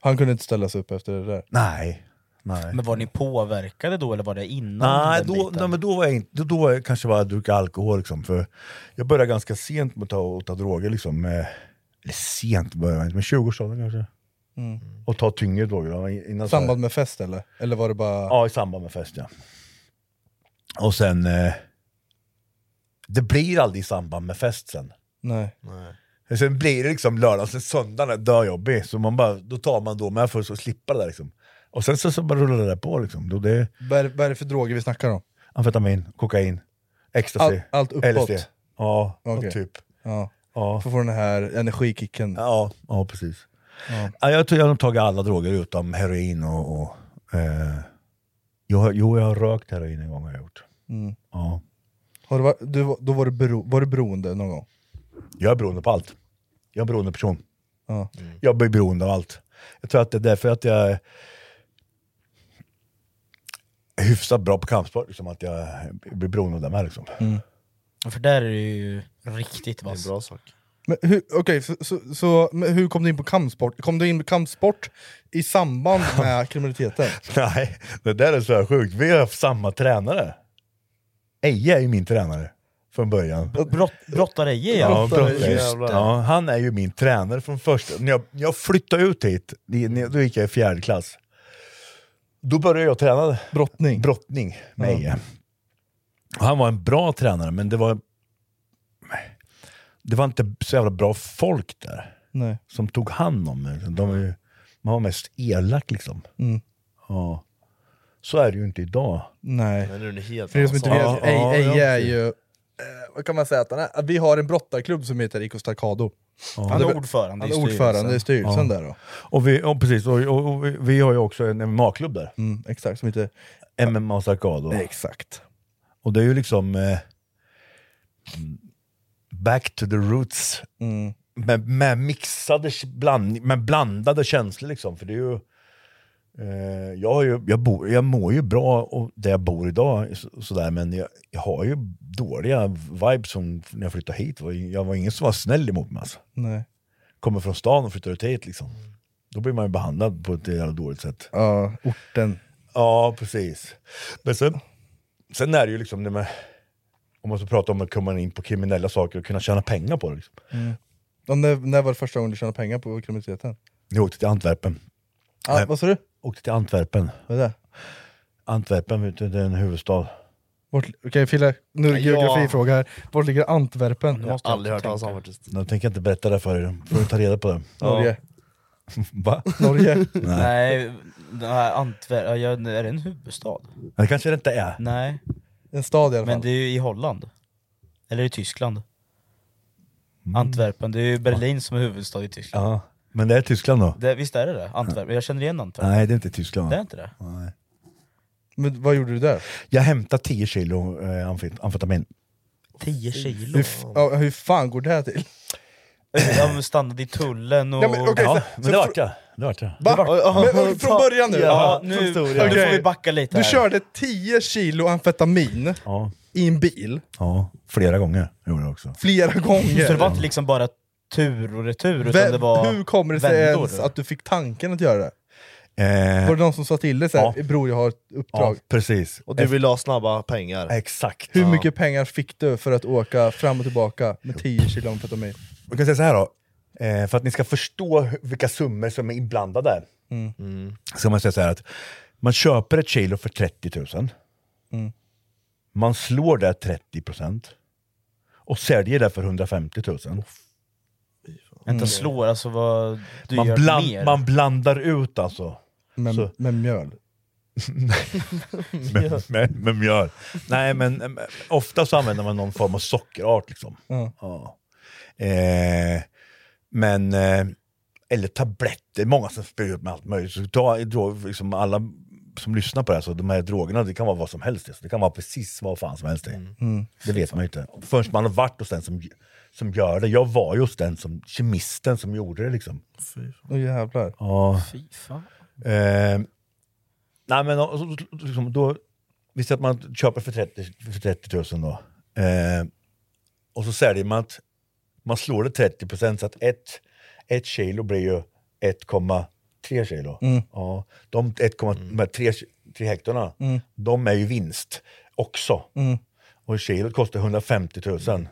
[SPEAKER 1] Han kunde inte ställa sig upp efter det där?
[SPEAKER 2] Nej. Nej.
[SPEAKER 3] Men var ni påverkade då eller var det innan?
[SPEAKER 2] Nej,
[SPEAKER 3] den
[SPEAKER 2] då,
[SPEAKER 3] biten?
[SPEAKER 2] nej men då var jag inte, då, då var jag kanske bara druckit alkohol liksom. För jag började ganska sent med att ta, att ta droger liksom. eh, Eller sent började jag inte, men 20-årsåldern kanske.
[SPEAKER 1] Mm.
[SPEAKER 2] Och ta tyngre droger. då, Innan
[SPEAKER 1] I samband med fest eller? Eller var det bara...
[SPEAKER 2] Ja, i samband med fest ja. Och sen... Eh, det blir aldrig i samband med fest sen.
[SPEAKER 1] Nej.
[SPEAKER 2] Sen blir det liksom lördag, sen söndagen är döjobbig. Så man bara, då tar man då med för att slippa det där liksom. Och sen så, så bara rullar det där på liksom. Då det,
[SPEAKER 1] Vad är, det- vad är det för droger vi snackar om?
[SPEAKER 2] amfetamin, kokain, ecstasy,
[SPEAKER 1] Allt- allt uppåt?
[SPEAKER 2] LSD. Ja, och
[SPEAKER 1] Okej.
[SPEAKER 2] typ.
[SPEAKER 1] Ja.
[SPEAKER 2] Ja.
[SPEAKER 1] För att få den här energikicken.
[SPEAKER 2] Ja, ja precis. Ja. Jag tror jag har nog tagit alla droger utom heroin och... och eh, jag, har- jo, jag har rökt heroin en gång. Har jag gjort.
[SPEAKER 1] Mm.
[SPEAKER 2] Ja.
[SPEAKER 1] Har du, varit- du, var- då var du, bero, var du beroende någon gång?
[SPEAKER 2] Jag är beroende på allt. Jag är en beroende person.
[SPEAKER 1] Ja.
[SPEAKER 2] Jag blir beroende av allt. Jag tror att det är därför att jag är hyfsat bra på kampsport, liksom, att jag blir beroende av det med. Liksom.
[SPEAKER 1] Mm.
[SPEAKER 3] För där är det ju riktigt vass. Det är en bra
[SPEAKER 10] sak.
[SPEAKER 1] Men hur, okej, så, så, så men hur kom du in på kampsport? Kom du in på kampsport i samband med kriminaliteten?
[SPEAKER 2] Nej, det där är så här sjukt. Vi har haft samma tränare. Eje är ju min tränare från början.
[SPEAKER 3] Brott, brottare-Eje
[SPEAKER 2] ja.
[SPEAKER 3] ja.
[SPEAKER 2] Brottare,
[SPEAKER 3] Just
[SPEAKER 2] just,
[SPEAKER 3] det.
[SPEAKER 2] ja. Han är ju min tränare från första... När jag, när jag flyttade ut hit, det- när- då gick jag i fjärde klass. Då började jag träna
[SPEAKER 1] brottning,
[SPEAKER 2] brottning med
[SPEAKER 1] Ja.
[SPEAKER 2] Eje. Och Han var en bra tränare, men det var... Det var inte så jävla bra folk där
[SPEAKER 1] Nej.
[SPEAKER 2] som tog hand om mig. De var ju, man var mest elak liksom.
[SPEAKER 1] Mm.
[SPEAKER 2] Ja. Så är det ju inte idag.
[SPEAKER 1] Nej.
[SPEAKER 10] Men nu är det helt
[SPEAKER 1] För er som inte vet,
[SPEAKER 2] Ja, ja,
[SPEAKER 1] Eje
[SPEAKER 2] ja,
[SPEAKER 1] är
[SPEAKER 2] precis.
[SPEAKER 1] ju... Eh, vad kan man säga att han är? Vi har en brottarklubb som heter IK Stakado.
[SPEAKER 3] Han är ordförande
[SPEAKER 1] han
[SPEAKER 3] i
[SPEAKER 1] är ordförande i
[SPEAKER 2] styrelsen.
[SPEAKER 1] styrelsen
[SPEAKER 2] Ja.
[SPEAKER 1] där då.
[SPEAKER 2] Och vi, ja, precis, och, och, och vi- vi har ju också en MMA-klubb där.
[SPEAKER 1] Mm, exakt, som heter
[SPEAKER 2] MMA Sarkado.
[SPEAKER 1] Exakt.
[SPEAKER 2] Och det är ju liksom eh, back to the roots.
[SPEAKER 1] Mm.
[SPEAKER 2] Med, med mixade, bland, med blandade känslor liksom. För det är ju, eh, jag, har ju, jag, bor, jag mår ju bra och där jag bor idag, så, sådär, men jag, jag har ju dåliga vibes som när jag flyttade hit. var ju- Jag var ingen som var snäll emot mig. Alltså.
[SPEAKER 1] Nej.
[SPEAKER 2] Kommer från stan och flyttar ut hit liksom. Då blir man ju behandlad på ett jävla dåligt sätt.
[SPEAKER 1] Ja, orten.
[SPEAKER 2] Ja, precis. Men sen, sen är det ju liksom det med, om man ska prata om att komma in på kriminella saker och kunna tjäna pengar på det. Liksom.
[SPEAKER 1] Mm. Och när, när var det första gången du tjänade pengar på kriminaliteten?
[SPEAKER 2] Jag åkte till Antwerpen.
[SPEAKER 1] Ah, vad sa du?
[SPEAKER 2] Åkte till Antwerpen.
[SPEAKER 1] Vad är det?
[SPEAKER 2] Antwerpen, vet du, det är en huvudstad.
[SPEAKER 1] Vart, okej Fille, nu är det
[SPEAKER 2] Ja.
[SPEAKER 1] geografifråga här. Vart ligger Antwerpen?
[SPEAKER 2] Jag tänker inte berätta det för er, får ni ta reda på det.
[SPEAKER 1] Norge.
[SPEAKER 2] Va?
[SPEAKER 1] Norge.
[SPEAKER 2] Nej.
[SPEAKER 3] Nej, den här Antwer- ja, jag- är det en huvudstad?
[SPEAKER 2] Det kanske det inte är.
[SPEAKER 3] Nej.
[SPEAKER 1] En stad i alla
[SPEAKER 3] Men det är ju i Holland. Eller i Tyskland.
[SPEAKER 1] Mm.
[SPEAKER 3] Antwerpen, det är ju Berlin som är huvudstad i Tyskland.
[SPEAKER 2] Ja. Men det är Tyskland då?
[SPEAKER 3] Det, visst är det det? Antwerpen? Jag känner igen Antwerpen.
[SPEAKER 2] Nej, det är inte Tyskland.
[SPEAKER 3] Det är inte det?
[SPEAKER 2] Nej.
[SPEAKER 1] Men vad gjorde du där?
[SPEAKER 2] Jag hämtade 10 kilo eh, amfet- amfetamin.
[SPEAKER 3] 10 kilo?
[SPEAKER 1] Hur, f- ja, hur fan går det här till?
[SPEAKER 3] De stannade i tullen och...
[SPEAKER 1] Ja, men okej, så- Ja, men så det vart
[SPEAKER 2] jag. Det vart jag.
[SPEAKER 1] Va? Men, från början nu?
[SPEAKER 3] Ja, nu, nu
[SPEAKER 1] Okej.
[SPEAKER 3] får vi backa lite
[SPEAKER 1] Du
[SPEAKER 3] här.
[SPEAKER 1] körde 10 kilo amfetamin i en bil
[SPEAKER 2] Ja, flera gånger gjorde jag också.
[SPEAKER 1] flera gånger.
[SPEAKER 3] Så det var inte liksom bara tur och retur, utan
[SPEAKER 1] Vem-
[SPEAKER 3] det var
[SPEAKER 1] Hur kommer det sig
[SPEAKER 3] vändor?
[SPEAKER 1] ens att du fick tanken att göra det?
[SPEAKER 2] Eh,
[SPEAKER 1] Var det någon som sa till dig såhär, bror jag har ett uppdrag?
[SPEAKER 2] Ja, precis.
[SPEAKER 10] Och du vill ha snabba pengar.
[SPEAKER 2] Exakt.
[SPEAKER 1] Hur
[SPEAKER 10] Ja.
[SPEAKER 1] mycket pengar fick du för att åka fram och tillbaka med 10 kilo amfetamin?
[SPEAKER 2] Jag kan säga så här då, eh, för att ni ska förstå hu- vilka summor som är inblandade. här,
[SPEAKER 1] Mm.
[SPEAKER 2] Så man säga så här att man köper ett kilo för 30 000.
[SPEAKER 1] Mm.
[SPEAKER 2] Man slår det 30 procent. Och säljer det för 150 000.
[SPEAKER 3] Inte slår, alltså vad du
[SPEAKER 2] Mm. Man,
[SPEAKER 3] gör
[SPEAKER 2] bland,
[SPEAKER 3] mer.
[SPEAKER 2] man blandar ut alltså.
[SPEAKER 1] Med,
[SPEAKER 2] Så-
[SPEAKER 1] med mjöl?
[SPEAKER 2] med, med, med mjöl. Nej, men eh, ofta så använder man någon form av sockerart. Liksom.
[SPEAKER 1] Ja.
[SPEAKER 2] Eh, men, eh, eller tabletter, många som spyr ut med allt möjligt. Så ta, då, liksom alla som lyssnar på det här, så de här drogerna, det kan vara vad som helst. Alltså. Det kan vara precis vad fan som helst. Det,
[SPEAKER 1] Mm.
[SPEAKER 2] det vet man ju inte. Förrän man har varit hos den som, som gör det. Jag var ju hos den som, kemisten som gjorde det. Liksom.
[SPEAKER 1] Åh jävlar.
[SPEAKER 2] Ja.
[SPEAKER 3] Fy fan.
[SPEAKER 2] Eh, nej men och- och- och- liksom, då, vi säger att man köper för 30, för 30 000 då. Eh, och så säljer man att man slår det 30 procent så att ett, ett kilo blir ju 1,3 3 kilo.
[SPEAKER 1] Mm.
[SPEAKER 2] Ja, de 1,3 hektarna,
[SPEAKER 1] Mm.
[SPEAKER 2] de är ju vinst också.
[SPEAKER 1] Mm.
[SPEAKER 2] Och kilot kostar 150 000. Så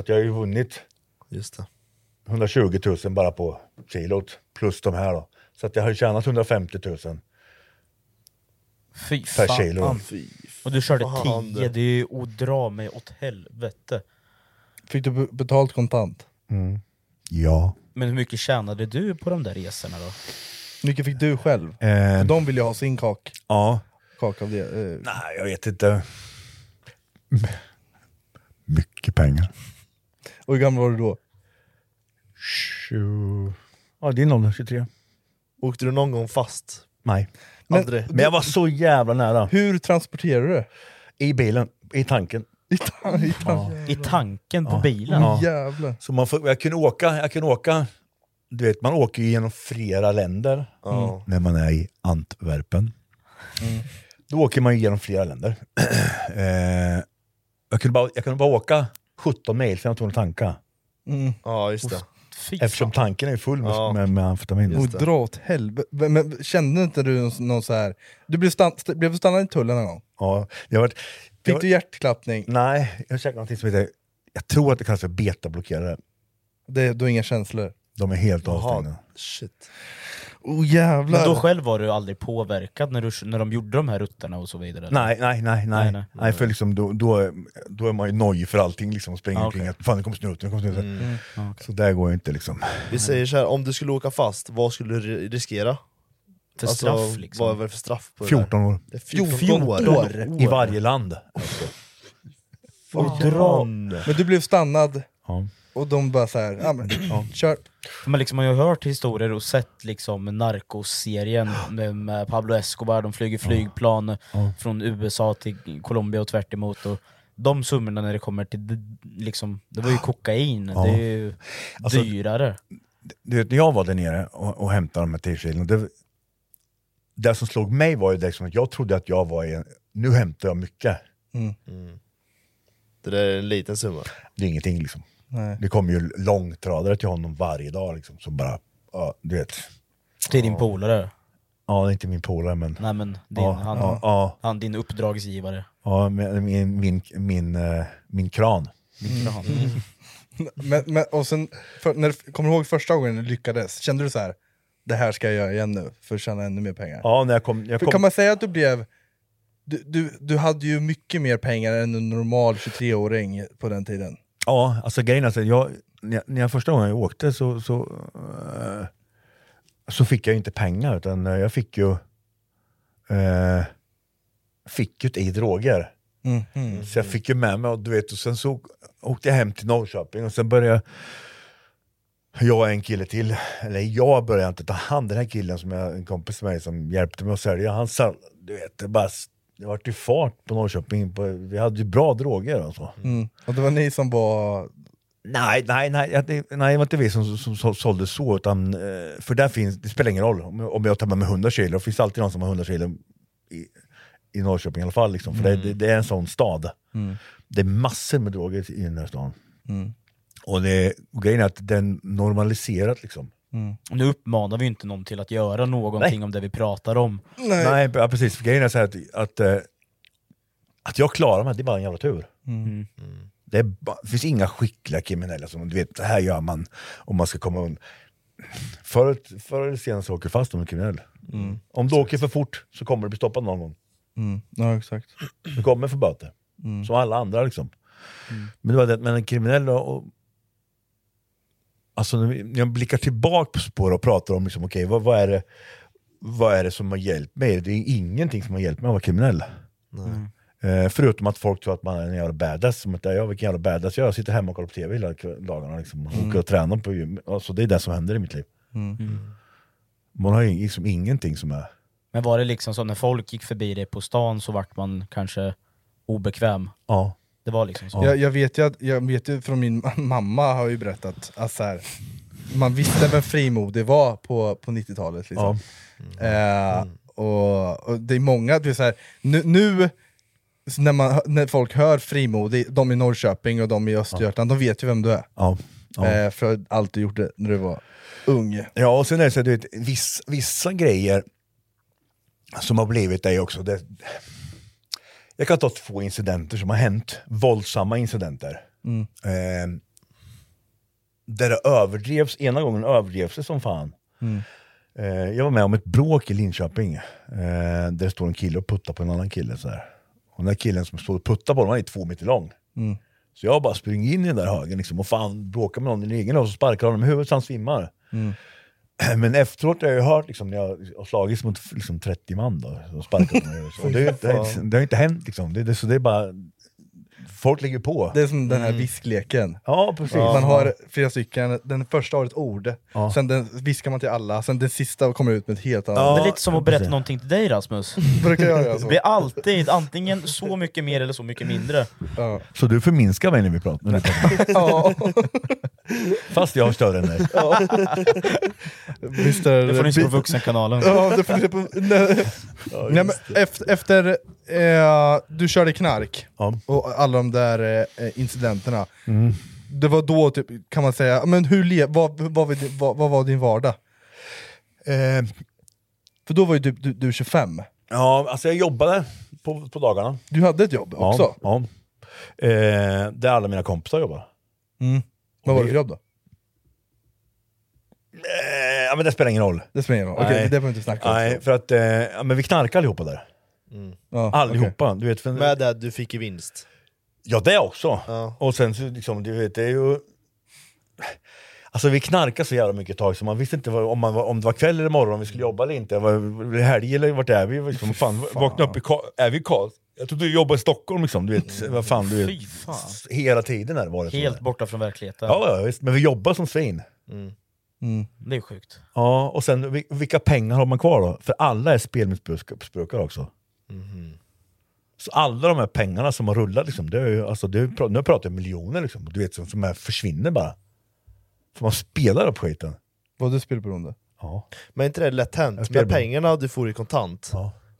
[SPEAKER 2] att jag har ju vunnit 120 000 bara på kilot, plus de här då. Så att jag har ju tjänat 150 000
[SPEAKER 3] Fy
[SPEAKER 2] per
[SPEAKER 3] fan.
[SPEAKER 2] kilo.
[SPEAKER 3] Och du körde
[SPEAKER 1] fan,
[SPEAKER 3] 10, det är ju att dra mig åt helvete.
[SPEAKER 1] Fick du be- betalt kontant?
[SPEAKER 2] Ja.
[SPEAKER 3] Men hur mycket tjänade du på de där resorna då?
[SPEAKER 1] Hur mycket fick du själv?
[SPEAKER 2] Eh.
[SPEAKER 1] För de vill ju ha sin kak.
[SPEAKER 2] Ja.
[SPEAKER 1] Kak av det. eh.
[SPEAKER 2] Nej, jag vet inte. Mycket pengar.
[SPEAKER 1] Och hur gammal var du då?
[SPEAKER 2] 20... Ja, din ålder, 23.
[SPEAKER 10] Åkte du någon gång fast?
[SPEAKER 2] Nej.
[SPEAKER 10] Men-
[SPEAKER 2] Aldrig. Men jag var så jävla nära.
[SPEAKER 1] Hur transporterade du det?
[SPEAKER 2] I bilen, i tanken.
[SPEAKER 1] I, tan- i tanken?
[SPEAKER 3] I tanken på bilen?
[SPEAKER 2] Ja.
[SPEAKER 1] Jävlar.
[SPEAKER 2] Så man får, jag kunde åka, jag kunde åka, du vet man åker ju genom flera länder.
[SPEAKER 10] Ja.
[SPEAKER 1] Mm.
[SPEAKER 10] Mm.
[SPEAKER 2] När man är i Antwerpen. Då åker man ju genom flera länder. eh, jag, kunde bara, jag kunde bara åka 17 mil sen jag tog en tanka.
[SPEAKER 10] Ja, just det.
[SPEAKER 2] Eftersom tanken är full med,
[SPEAKER 10] Ja.
[SPEAKER 2] med, med amfetamin.
[SPEAKER 1] Och dra åt helvete. Men kände inte du någon- någon så här? Du blev, stan- st- blev du stannad i tullen någon gång?
[SPEAKER 2] Ja, jag var,
[SPEAKER 1] Fick du hjärtklappning?
[SPEAKER 2] Nej, jag käkade någonting som heter, jag tror att det kallas för betablockerare.
[SPEAKER 1] Det, du har inga känslor?
[SPEAKER 2] De är helt
[SPEAKER 1] Jaha.
[SPEAKER 2] avstängda.
[SPEAKER 10] Shit.
[SPEAKER 1] Oh jävlar.
[SPEAKER 3] Men då själv var du aldrig påverkad när, du, när de gjorde de här rutterna och så vidare? eller?
[SPEAKER 2] Nej, nej, nej. nej.
[SPEAKER 3] Nej,
[SPEAKER 2] nej,
[SPEAKER 3] nej.
[SPEAKER 2] för liksom, då, då, är- då är man ju nojig för allting. Liksom, och springer
[SPEAKER 10] Ah,
[SPEAKER 2] omkring.
[SPEAKER 10] okej.
[SPEAKER 2] Att, Fan, det kommer snuten, det kommer snuten.
[SPEAKER 10] Mm.
[SPEAKER 2] Så där går ju inte liksom.
[SPEAKER 10] Vi säger så här, om du skulle åka fast, vad skulle du ri- riskera? Alltså,
[SPEAKER 2] För straff, liksom.
[SPEAKER 10] Vad är det för straff? På
[SPEAKER 2] 14
[SPEAKER 10] det
[SPEAKER 2] år.
[SPEAKER 10] där? Det är 14, år. Alltså.
[SPEAKER 2] I varje land.
[SPEAKER 1] Och
[SPEAKER 2] dra.
[SPEAKER 1] Men du blev stannad,
[SPEAKER 2] Ja.
[SPEAKER 1] och de bara så här, ja men kör.
[SPEAKER 3] Men liksom, man har ju hört historier och sett liksom Narcos-serien med, med Pablo Escobar, de flyger flygplan från USA till Colombia och tvärt emot och De summorna när det kommer till, d- liksom, det var ju kokain,
[SPEAKER 2] Ja.
[SPEAKER 3] det är ju
[SPEAKER 2] Alltså,
[SPEAKER 3] dyrare.
[SPEAKER 2] Du vet, när jag var där nere och, och hämtade de här t-shirtarna, det, det som slog mig var ju liksom att jag trodde att jag var i en, nu hämtar jag mycket.
[SPEAKER 10] Det där är en liten summa.
[SPEAKER 2] Det är ingenting liksom.
[SPEAKER 1] Nej.
[SPEAKER 2] Det kommer ju långtradare till honom varje dag liksom, som bara, ja, du vet.
[SPEAKER 3] Till din polare?
[SPEAKER 2] Ja, det är inte min polare men...
[SPEAKER 3] Nej men din,
[SPEAKER 2] Ja,
[SPEAKER 3] han,
[SPEAKER 2] ja, ja.
[SPEAKER 3] han, din uppdragsgivare.
[SPEAKER 2] Ja, men min, min, min, eh, min kran.
[SPEAKER 3] Min kran.
[SPEAKER 1] Men, men, och sen, för, när, du- kommer du ihåg första gången du lyckades? Kände du så här, det här ska jag göra igen nu för att tjäna ännu mer pengar?
[SPEAKER 2] Ja, när jag kom... Jag
[SPEAKER 1] för
[SPEAKER 2] kom
[SPEAKER 1] kan man säga att du blev, du, du, du hade ju mycket mer pengar än en normal 23-åring på den tiden.
[SPEAKER 2] Ja, alltså grejen är att jag, när, jag, när jag första gången jag åkte så, så, eh, så fick jag ju inte pengar, utan eh, jag fick ju, eh, fick ju det i droger. Så jag fick ju med mig, och, du vet, och sen så åkte jag hem till Norrköping och sen började jag och en kille till, eller jag började inte ta hand den här killen som jag, en kompis med mig som hjälpte mig att sälja, han sa, du vet, det bara, det vart ju fart på Norrköping, på, vi hade ju bra droger och så.
[SPEAKER 1] Mm. Och det var ni som var...
[SPEAKER 2] Nej, nej, nej, jag- det- nej, det var inte vi som, som, som sålde så, utan, eh, för där finns, det spelar ingen roll om, jag- om jag tar med mig 100 kilo, det finns alltid någon som har 100 kilo i, i Norrköping i alla fall, liksom, för det, det, det är en sån stad.
[SPEAKER 1] Mm.
[SPEAKER 2] Det är massor med droger i den här stan.
[SPEAKER 1] Mm.
[SPEAKER 2] Och, det, och grejen är att den normaliserat liksom.
[SPEAKER 3] Nu uppmanar vi ju inte någon till att göra någonting om det vi pratar om.
[SPEAKER 2] Nej, ja, precis, för grejen är så här att, att, eh, att jag klarar mig, det är bara en jävla tur.
[SPEAKER 3] Mm.
[SPEAKER 2] Det, är ba- det finns inga skickliga kriminella som, du vet, det här gör man om man ska komma undan. Förr förr eller senare så åker du fast om du är kriminell. Om du åker för fort så kommer du bli stoppad någon gång.
[SPEAKER 1] Mm. Ja, exakt.
[SPEAKER 2] Du kommer få böter.
[SPEAKER 1] Mm.
[SPEAKER 2] Som alla andra liksom. Men det var det, men en kriminell och, och Alltså när vi- när jag blickar tillbaka på det och pratar om liksom, okej, vad, vad, är det, vad är det som har hjälpt mig? Det är ingenting som har hjälpt mig att vara kriminell. Eh, förutom att folk tror att man är en jävla badass, som att jag, vilken jävla badass jag är, jag sitter hemma och kollar på TV hela kv- dagarna liksom, och
[SPEAKER 1] Mm.
[SPEAKER 2] åker och tränar på gym. Alltså, det är det som händer i mitt liv.
[SPEAKER 1] Mm.
[SPEAKER 2] Man har ju liksom ingenting som är...
[SPEAKER 3] Men var det liksom som när folk gick förbi dig på stan så vart man kanske obekväm?
[SPEAKER 2] Ja.
[SPEAKER 3] Det var liksom så?
[SPEAKER 1] Jag, jag, vet ju att, jag vet ju från min ma- mamma har ju berättat att så här, man visste vem frimodig var på, på 90-talet. Liksom.
[SPEAKER 2] Mm.
[SPEAKER 1] Eh, och, och det är många, det är så här, nu, nu så när, man, när folk hör frimodig, de i Norrköping och de i Östergötland, de vet ju vem du är.
[SPEAKER 2] Ja. Ja.
[SPEAKER 1] Eh, för allt du gjorde när du var ung.
[SPEAKER 2] Ja, och sen är det så att du vet, viss, vissa grejer som har blivit dig också. Det, jag kan ta två incidenter som har hänt, våldsamma incidenter.
[SPEAKER 1] Mm.
[SPEAKER 2] Eh, där det överdrevs, ena gången överdrevs det som fan.
[SPEAKER 1] Mm.
[SPEAKER 2] Eh, jag var med om ett bråk i Linköping, eh, där det står en kille och puttar på en annan kille. Så här. Och den där killen som står och puttar på honom, han är två meter lång.
[SPEAKER 1] Mm.
[SPEAKER 2] Så jag bara springer in i den där högen liksom, och fan bråkar med någon i den egen och så sparkar jag honom i huvudet så han svimmar.
[SPEAKER 1] Mm.
[SPEAKER 2] Men efteråt har jag ju hört liksom, när jag har slagits mot liksom, 30 man då, som sparkar på mig. i huvudet. Och det, är ju inte, det har ju inte hänt liksom. Det, det, så det är bara, folk ligger på.
[SPEAKER 1] Det är som den här viskleken.
[SPEAKER 2] Mm. Ja, precis.
[SPEAKER 1] Man har flera stycken, den första har ett ord,
[SPEAKER 2] Ja.
[SPEAKER 1] sen den viskar man till alla, sen den sista kommer ut med ett helt annat.
[SPEAKER 3] det är lite som att berätta någonting till dig Rasmus.
[SPEAKER 1] Brukar jag göra så?
[SPEAKER 3] Det blir alltid antingen så mycket mer eller så mycket mindre.
[SPEAKER 2] Så du förminskar mig när vi pratar? När vi pratar.
[SPEAKER 1] Ja.
[SPEAKER 2] Fast jag har större än dig.
[SPEAKER 1] Ja. Visst är
[SPEAKER 3] Det får ni se på Vuxenkanalen.
[SPEAKER 1] Ja, det får ni se på... Nej, Nej, men efter, efter eh, du körde knark och alla de där eh, incidenterna,
[SPEAKER 2] Mm.
[SPEAKER 1] det var då typ, kan man säga, men hur le- vad, vad, var din- vad, vad var din vardag? Eh, För då var ju du, du, du 25,
[SPEAKER 2] Ja, alltså jag jobbade på, på dagarna.
[SPEAKER 1] du hade ett jobb också?
[SPEAKER 2] Ja. ja. Eh, där alla mina kompisar jobbar.
[SPEAKER 1] Mm. Vad var det för jobb då?
[SPEAKER 2] Eh, ja, men det spelar ingen roll.
[SPEAKER 1] Det spelar ingen roll. Okej,
[SPEAKER 2] Nej.
[SPEAKER 1] det behöver vi inte snacka om.
[SPEAKER 2] Nej, för att eh, ja, men vi knarkade allihopa där. Mm.
[SPEAKER 1] Ja,
[SPEAKER 2] allihopa. Du vet, för,
[SPEAKER 10] Med det du fick i vinst.
[SPEAKER 2] Ja, det också. Och sen så liksom, du vet, det är ju... Alltså vi knarkade så jävla mycket ett tag så man visste inte vad, om, man, var- om det var kväll eller morgon, om vi skulle jobba eller inte. Var var det helg eller vart är vi? Liksom, fan, Vakna upp i Karl- Är vi i Karl? Jag trodde du jobbade i Stockholm liksom, du vet. Vad fan, du vet.
[SPEAKER 3] Fy fan.
[SPEAKER 2] Hela tiden här var det så.
[SPEAKER 3] Helt borta från verkligheten.
[SPEAKER 2] Ja, ja, visst. Men vi jobbar som svin.
[SPEAKER 3] Det är sjukt.
[SPEAKER 2] Ja, och sen vil- vilka pengar har man kvar då? För alla är spelmissbrukare också. Så alla de här pengarna som har rullat, liksom, det är ju, alltså, det är, ju pra- nu pratar jag miljoner liksom, du vet, som, som här försvinner bara. För man spelar upp skiten.
[SPEAKER 1] Var du spelberoende?
[SPEAKER 2] Ja.
[SPEAKER 10] Men är inte det lätt hänt?
[SPEAKER 2] spelar
[SPEAKER 10] Med
[SPEAKER 2] bra.
[SPEAKER 10] pengarna du får i kontant,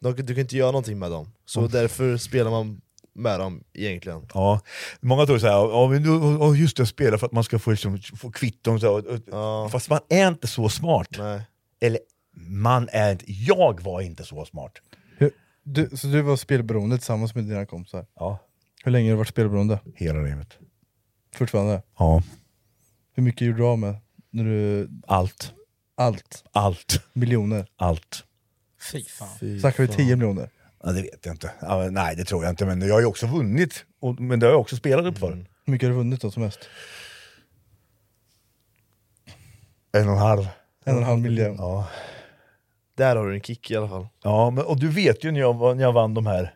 [SPEAKER 10] de, du kan inte göra någonting med dem. Så
[SPEAKER 2] Ja.
[SPEAKER 10] därför spelar man med dem egentligen.
[SPEAKER 2] Ja, många tror såhär, ja men du- ja, just det, jag spelar för att man ska få, liksom, få kvitton. Så, här, och, och, Fast man är inte så smart. Eller, man är inte, jag var inte så smart.
[SPEAKER 1] Hur, du, så du var spelberoende tillsammans med dina kompisar?
[SPEAKER 2] Ja.
[SPEAKER 1] Hur länge har du varit spelberoende?
[SPEAKER 2] Hela livet.
[SPEAKER 1] Fortfarande?
[SPEAKER 2] Ja.
[SPEAKER 1] Hur mycket gjorde du av med? När du...
[SPEAKER 2] Allt.
[SPEAKER 1] Allt?
[SPEAKER 2] Allt.
[SPEAKER 1] Miljoner?
[SPEAKER 2] Allt.
[SPEAKER 3] Fy fan.
[SPEAKER 1] Snackar vi 10 miljoner?
[SPEAKER 2] Ja, det vet jag inte. Ja, men nej, det tror jag inte. Men jag har ju också vunnit, och, men det har jag också spelat upp för.
[SPEAKER 1] Hur mycket har du vunnit då som mest?
[SPEAKER 2] En och en halv.
[SPEAKER 1] En och en halv miljon?
[SPEAKER 2] Ja.
[SPEAKER 10] Där har du en kick i alla fall.
[SPEAKER 2] Ja, men, och du vet ju när jag, var- när jag vann de här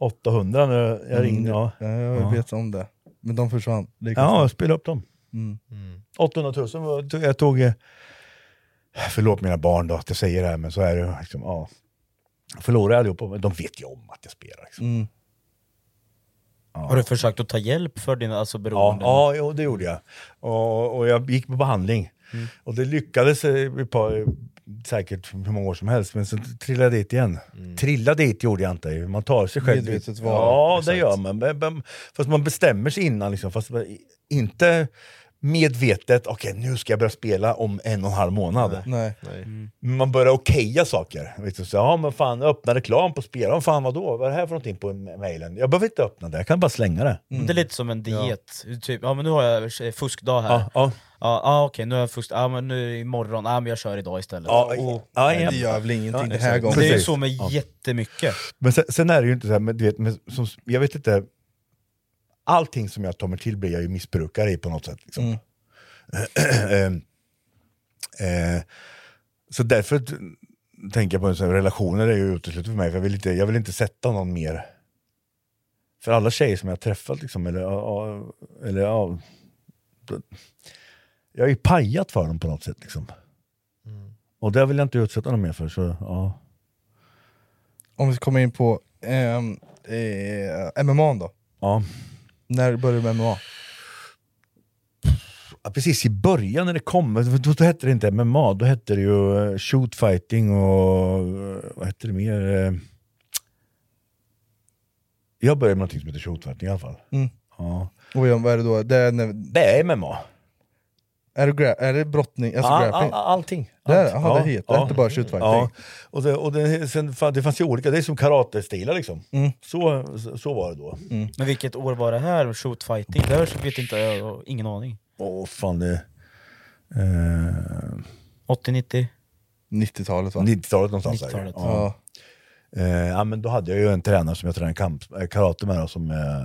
[SPEAKER 2] 800 när jag jag ringde. Ja.
[SPEAKER 1] Ja, jag vet om det. Men de försvann. Det är
[SPEAKER 2] Ja, jag
[SPEAKER 1] konstigt.
[SPEAKER 2] spelade upp dem.
[SPEAKER 1] Mm.
[SPEAKER 2] 800 000 var, jag tog... eh, Förlåt mina barn då att jag säger det här, men så är det ju. Liksom, ja. Jag Förlorade allihopa, men de vet ju om att jag spelar. Liksom.
[SPEAKER 1] Mm.
[SPEAKER 3] Har du försökt att ta hjälp för dina alltså,
[SPEAKER 2] Ja,
[SPEAKER 3] beroenden?
[SPEAKER 2] ja jo, det gjorde jag. Och, och jag gick på behandling.
[SPEAKER 1] Mm.
[SPEAKER 2] Och det lyckades eh, ett par, säkert hur många år som helst, men sen trillade jag dit igen. Trillade dit gjorde jag inte, man tar sig själv
[SPEAKER 1] Mm. Medvetet
[SPEAKER 2] dit.
[SPEAKER 1] val,
[SPEAKER 2] Ja,
[SPEAKER 1] exakt.
[SPEAKER 2] det gör man. Men- men- Fast man bestämmer sig innan, liksom, fast man- inte medvetet, okej nu ska jag börja spela om en och en halv månad.
[SPEAKER 1] Nej.
[SPEAKER 2] Man börjar okeja saker. Vet du, så, ja men fan, öppna reklam på spel. Ja, fan vadå? Vad är det här för någonting på mejlen? Jag behöver inte öppna det, jag kan bara slänga det.
[SPEAKER 10] Mm.
[SPEAKER 3] Det är lite som en diet, typ, ja men nu har jag eh, fuskdag här.
[SPEAKER 2] Ja, ja.
[SPEAKER 3] Ja, ja, okej nu har jag fusk, ja men nu imorgon, ja men jag kör idag istället.
[SPEAKER 2] Ja,
[SPEAKER 3] Och-
[SPEAKER 2] ja,
[SPEAKER 3] Nej,
[SPEAKER 2] ja. Ja, exakt.
[SPEAKER 3] Det är ju
[SPEAKER 2] Precis.
[SPEAKER 3] så med
[SPEAKER 2] Ja.
[SPEAKER 3] jättemycket.
[SPEAKER 2] Men sen, sen är det ju inte så här, men du vet, men som, jag vet inte, allting som jag tar mig till blir jag ju missbrukare i på något sätt. Liksom. Ehm, eh, eh, så därför t- tänker jag på en sån här, relationer är ju uteslutet för mig, för jag vill, inte, jag vill inte sätta någon mer. För alla tjejer som jag har träffat, liksom, eller, ja, ja, eller ja, då- jag är ju pajat för dem på något sätt. Liksom. Och det vill jag inte utsätta dem mer för. Så, ja.
[SPEAKER 1] Om vi kommer in på ehm, eh, MMA då?
[SPEAKER 2] Ja.
[SPEAKER 1] När började du med MMA?
[SPEAKER 2] Ja, precis, i början när det kom, då, då hette det inte MMA, då hette det ju eh, shoot fighting och eh, vad hette det mer? eh? Jag började med någonting som heter shoot fighting i alla fall.
[SPEAKER 1] Mm.
[SPEAKER 2] Ja.
[SPEAKER 1] Och jag- vad är det då? Det är när,
[SPEAKER 2] Det är MMA.
[SPEAKER 1] Är det, gra- är det brottning? Alltså
[SPEAKER 2] Ja,
[SPEAKER 1] grappling?
[SPEAKER 2] all- all- allting.
[SPEAKER 1] Det är det?
[SPEAKER 2] Allting.
[SPEAKER 1] Jaha,
[SPEAKER 2] Ja,
[SPEAKER 1] det heter
[SPEAKER 2] ja.
[SPEAKER 1] inte bara shootfighting?
[SPEAKER 2] Ja. Och det, och det, sen, fan, det fanns ju olika, det är som karatestilar liksom. Så, så- så var det då.
[SPEAKER 3] Men vilket år var det här? Shootfighting? Det här så vet inte jag, jag, har ingen aning.
[SPEAKER 2] Åh fan det... Eh,
[SPEAKER 3] 80-90?
[SPEAKER 1] 90-talet
[SPEAKER 2] va? 90-talet någonstans
[SPEAKER 3] 90-talet,
[SPEAKER 2] säkert. Ja. Eh, ja, men då hade jag ju en tränare som jag tränade kamp, eh, karate med då, som eh,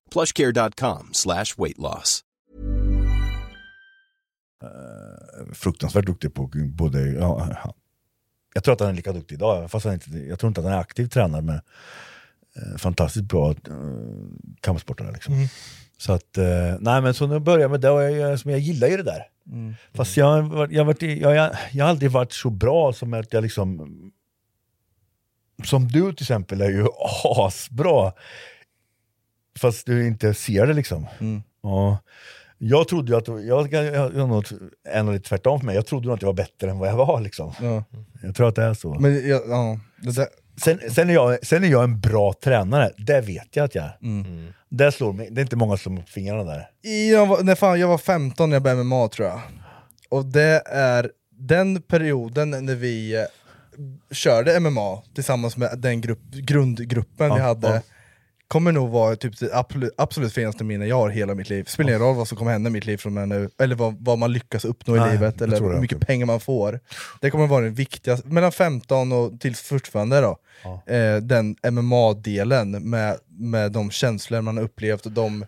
[SPEAKER 9] plushcare.com slash weight loss.
[SPEAKER 2] eh, fruktansvärt duktig på både... Ja, han- jag tror att han är lika duktig idag, fast han inte, jag tror inte att han är aktiv tränare, men eh, fantastiskt bra eh, kampsportare. Liksom.
[SPEAKER 1] Mm.
[SPEAKER 2] Så att, eh, nej men så nu börjar jag med det, och jag, jag, som jag gillar ju det där.
[SPEAKER 1] Mm.
[SPEAKER 2] Fast jag, har varit- jag, har varit i- jag, jag, jag har aldrig varit så bra som att jag liksom... Som du till exempel är ju asbra. Fast du inte ser det liksom.
[SPEAKER 1] Mm.
[SPEAKER 2] Ja. Jag trodde ju att, jag, jag, jag, jag något, en och lite tvärtom för mig, jag trodde nog att jag var bättre än vad jag var liksom.
[SPEAKER 1] Ja.
[SPEAKER 2] Jag tror att det är så.
[SPEAKER 1] Men, ja, ja, det där,
[SPEAKER 2] Sen, sen, är jag, sen är jag en bra tränare, det vet jag att jag är. Mm. Det slår mig, det är inte många som slår mot fingrarna där.
[SPEAKER 1] jag, var, när fan, jag var 15 när jag började MMA tror jag. Och det är den perioden när vi eh, körde MMA tillsammans med den grupp, grundgruppen vi
[SPEAKER 2] Ja,
[SPEAKER 1] hade.
[SPEAKER 2] ja.
[SPEAKER 1] Kommer nog vara typ det absolut, absolut finaste minne jag har hela mitt liv. Spelar ingen roll vad som kommer hända i mitt liv från och med nu, eller vad, vad man lyckas uppnå i
[SPEAKER 2] Nej,
[SPEAKER 1] livet,
[SPEAKER 2] jag
[SPEAKER 1] eller
[SPEAKER 2] tror det
[SPEAKER 1] hur mycket pengar man får. Det kommer vara den viktigaste, mellan 15 och till fortfarande då, eh, den MMA-delen med, med de känslor man har upplevt och de,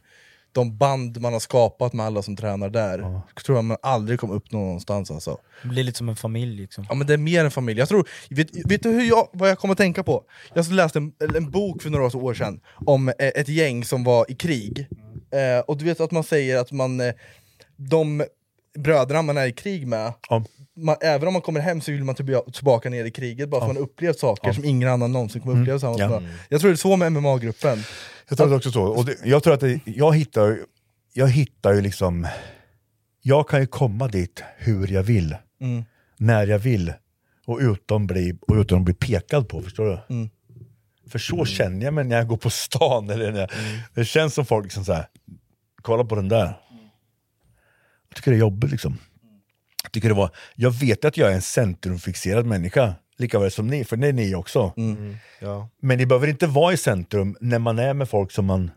[SPEAKER 1] de band man har skapat med alla som tränar där. Tror jag man aldrig kommer uppnå någonstans alltså.
[SPEAKER 3] Det blir lite som en familj liksom.
[SPEAKER 1] Ja men det är mer än familj. Jag tror, vet, vet du hur jag, vad jag kommer att tänka på? Jag läste en, en bok för några år sedan om eh, ett gäng som var i krig. Eh, och du vet att man säger att man, eh, de bröderna man är i krig med, man, även om man kommer hem så vill man tillba- tillbaka ner i kriget bara för att man upplevt saker
[SPEAKER 2] Ja.
[SPEAKER 1] som ingen annan någonsin kommer uppleva.
[SPEAKER 2] Mm.
[SPEAKER 1] tillsammans
[SPEAKER 2] Ja.
[SPEAKER 1] med. Jag tror det är så med MMA-gruppen.
[SPEAKER 2] Jag tror det också så. Och det, jag tror att det, jag hittar ju- jag hittar ju liksom, jag kan ju komma dit hur jag vill,
[SPEAKER 1] Mm.
[SPEAKER 2] när jag vill och utan, bli, och utan att bli pekad på, förstår du?
[SPEAKER 1] Mm.
[SPEAKER 2] För så känner jag mig när jag går på stan, eller när jag,
[SPEAKER 1] Mm.
[SPEAKER 2] det känns som folk liksom såhär, kolla på den där. Jag tycker det är jobbigt liksom. Jag, tycker det var, jag vet att jag är en centrumfixerad människa, lika väl som ni, för det är ni också.
[SPEAKER 1] Mm.
[SPEAKER 10] Ja.
[SPEAKER 2] Men det behöver inte vara i centrum när man är med folk som man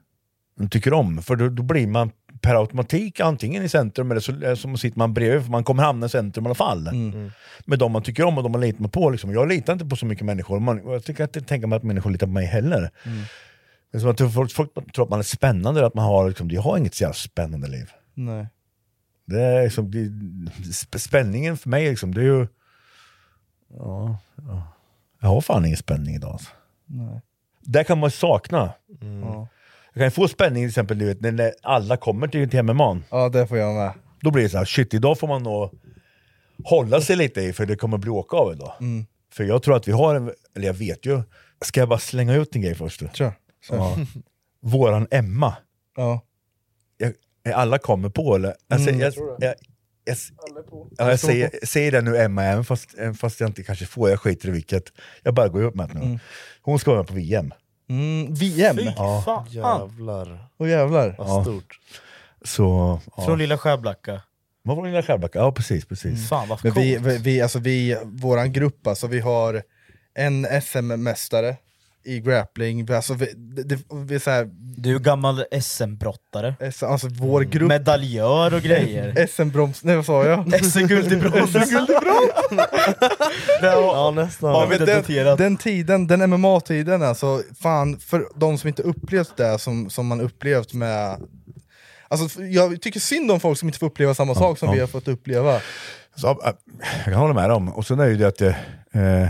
[SPEAKER 2] tycker om, för då, då blir man per automatik antingen i centrum eller så, eller så sitter man bredvid, för man kommer hamna i centrum i alla fall. Med de man tycker om och de man litar på. Liksom. Jag litar inte på så mycket människor, man, jag tycker inte tänka mig att människor litar på mig heller. Det är som att folk, folk tror att man är spännande, eller att man har, liksom, jag har inget så jävla spännande liv.
[SPEAKER 1] Nej.
[SPEAKER 2] Det är liksom, det, sp- spänningen för mig liksom, det är ju... Ja, ja. Jag har fan ingen spänning idag. Alltså.
[SPEAKER 1] Nej. Mm.
[SPEAKER 2] Där kan man sakna.
[SPEAKER 1] Ja.
[SPEAKER 2] Jag kan ju få spänning till exempel du vet, när- när alla kommer till, till MMA.
[SPEAKER 1] Ja, det får jag med.
[SPEAKER 2] Då blir det så här, shit idag får man nog hålla sig lite i för det kommer bli åka av idag.
[SPEAKER 1] Mm.
[SPEAKER 2] För jag tror att vi har, en, eller jag vet ju, ska jag bara slänga ut en grej först? då?
[SPEAKER 1] Kör. Kör.
[SPEAKER 2] Ja. Våran Emma.
[SPEAKER 1] Ja.
[SPEAKER 2] Jag, alla kommer på eller? Alltså,
[SPEAKER 1] Mm.
[SPEAKER 2] jag,
[SPEAKER 1] Jag tror det.
[SPEAKER 2] jag, jag,
[SPEAKER 1] Alla
[SPEAKER 2] ja,
[SPEAKER 1] är
[SPEAKER 2] jag
[SPEAKER 1] på.
[SPEAKER 2] säger, jag säger det nu Emma, även fast, även fast jag inte kanske får, jag skiter i vilket. Jag bara går upp med det nu.
[SPEAKER 3] Mm.
[SPEAKER 2] Hon ska vara med på VM.
[SPEAKER 1] Mm, VM?
[SPEAKER 2] Fy Ja. fan.
[SPEAKER 10] Jävlar.
[SPEAKER 1] Åh jävlar.
[SPEAKER 10] Vad
[SPEAKER 2] Ja.
[SPEAKER 10] stort.
[SPEAKER 2] Så, ja.
[SPEAKER 3] Från lilla Skärblacka.
[SPEAKER 2] Vad var det lilla Skärblacka? Ja precis, precis.
[SPEAKER 3] Fan vad
[SPEAKER 1] Men vi,
[SPEAKER 3] coolt.
[SPEAKER 1] vi, vi, alltså vi, våran grupp alltså, vi har en SM-mästare i grappling. Vi- Alltså, vi, det, det, vi, så här,
[SPEAKER 3] Du är ju gammal SM-brottare.
[SPEAKER 1] Alltså vår grupp...
[SPEAKER 3] Medaljör och Mm. grejer.
[SPEAKER 1] SM-broms... Nej vad sa jag?
[SPEAKER 3] SM-guld i brons.
[SPEAKER 1] SM-guld i brons!
[SPEAKER 3] ja, nästan. Har vi
[SPEAKER 1] Men
[SPEAKER 3] inte
[SPEAKER 1] den,
[SPEAKER 3] daterat.
[SPEAKER 1] den tiden, den MMA-tiden alltså, fan, för de som inte upplevt det som, som man upplevt med... Alltså, jag tycker synd om folk som inte får uppleva samma sak som
[SPEAKER 2] ja.
[SPEAKER 1] vi har fått uppleva.
[SPEAKER 2] Så, äh, jag kan hålla med om. Och sen är ju det att det, eh,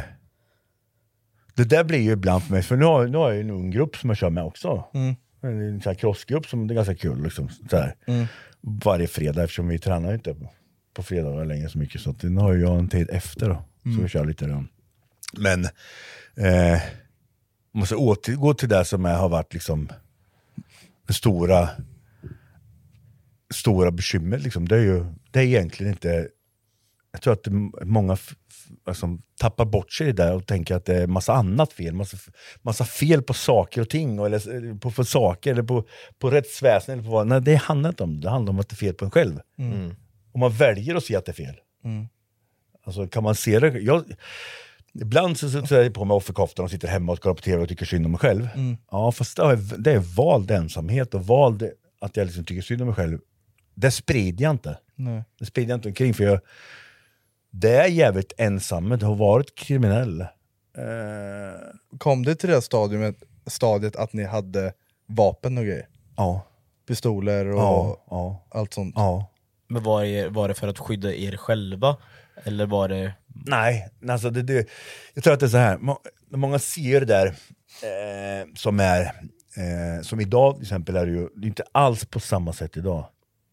[SPEAKER 2] det där blir ju ibland för mig, för nu har, nu har jag ju en ung grupp som jag kör med också.
[SPEAKER 1] Mm.
[SPEAKER 2] En, en sån här crossgrupp som det är ganska kul liksom, så här.
[SPEAKER 1] Mm.
[SPEAKER 2] varje fredag eftersom vi tränar ju inte på, på fredagar längre så mycket. Så att nu har ju jag en tid efter då,
[SPEAKER 11] Mm.
[SPEAKER 2] så vi kör lite då. Men eh, måste återgå till det som är, har varit liksom det stora stora bekymret. Liksom. Det, är ju, det är egentligen inte... Jag tror att det är många f- f- alltså, tappar bort sig i det där och tänker att det är massa annat fel. Massa, f- massa fel på saker och ting, och- eller s- på, på saker, eller på, på rättsväsendet. Eller på vad. Nej, det handlar inte om det. Det handlar om att det är fel på en själv.
[SPEAKER 1] Mm.
[SPEAKER 2] Om man väljer att se att det är fel.
[SPEAKER 1] Mm.
[SPEAKER 2] Alltså, kan man se det? Jag, ibland så sätter jag på mig offerkoftan och sitter hemma och kollar på tv och tycker synd om mig själv.
[SPEAKER 1] Mm.
[SPEAKER 2] Ja, fast det är, det är vald ensamhet och vald att jag liksom tycker synd om mig själv. Det sprider jag inte.
[SPEAKER 1] Nej.
[SPEAKER 2] Det sprider jag inte omkring för jag, det är jävligt ensamt att ha varit kriminell. Eh,
[SPEAKER 1] Kom det till det här stadiet, stadiet att ni hade vapen och grejer?
[SPEAKER 2] Ja.
[SPEAKER 1] Pistoler och
[SPEAKER 3] Ja,
[SPEAKER 1] allt sånt?
[SPEAKER 2] Ja.
[SPEAKER 3] Men var det, var det för att skydda er själva? Eller var det...
[SPEAKER 2] Nej, alltså det, det, jag tror att det är så här. Må, många ser det där eh, som är, eh, som idag till exempel är det ju det är inte alls på samma sätt idag.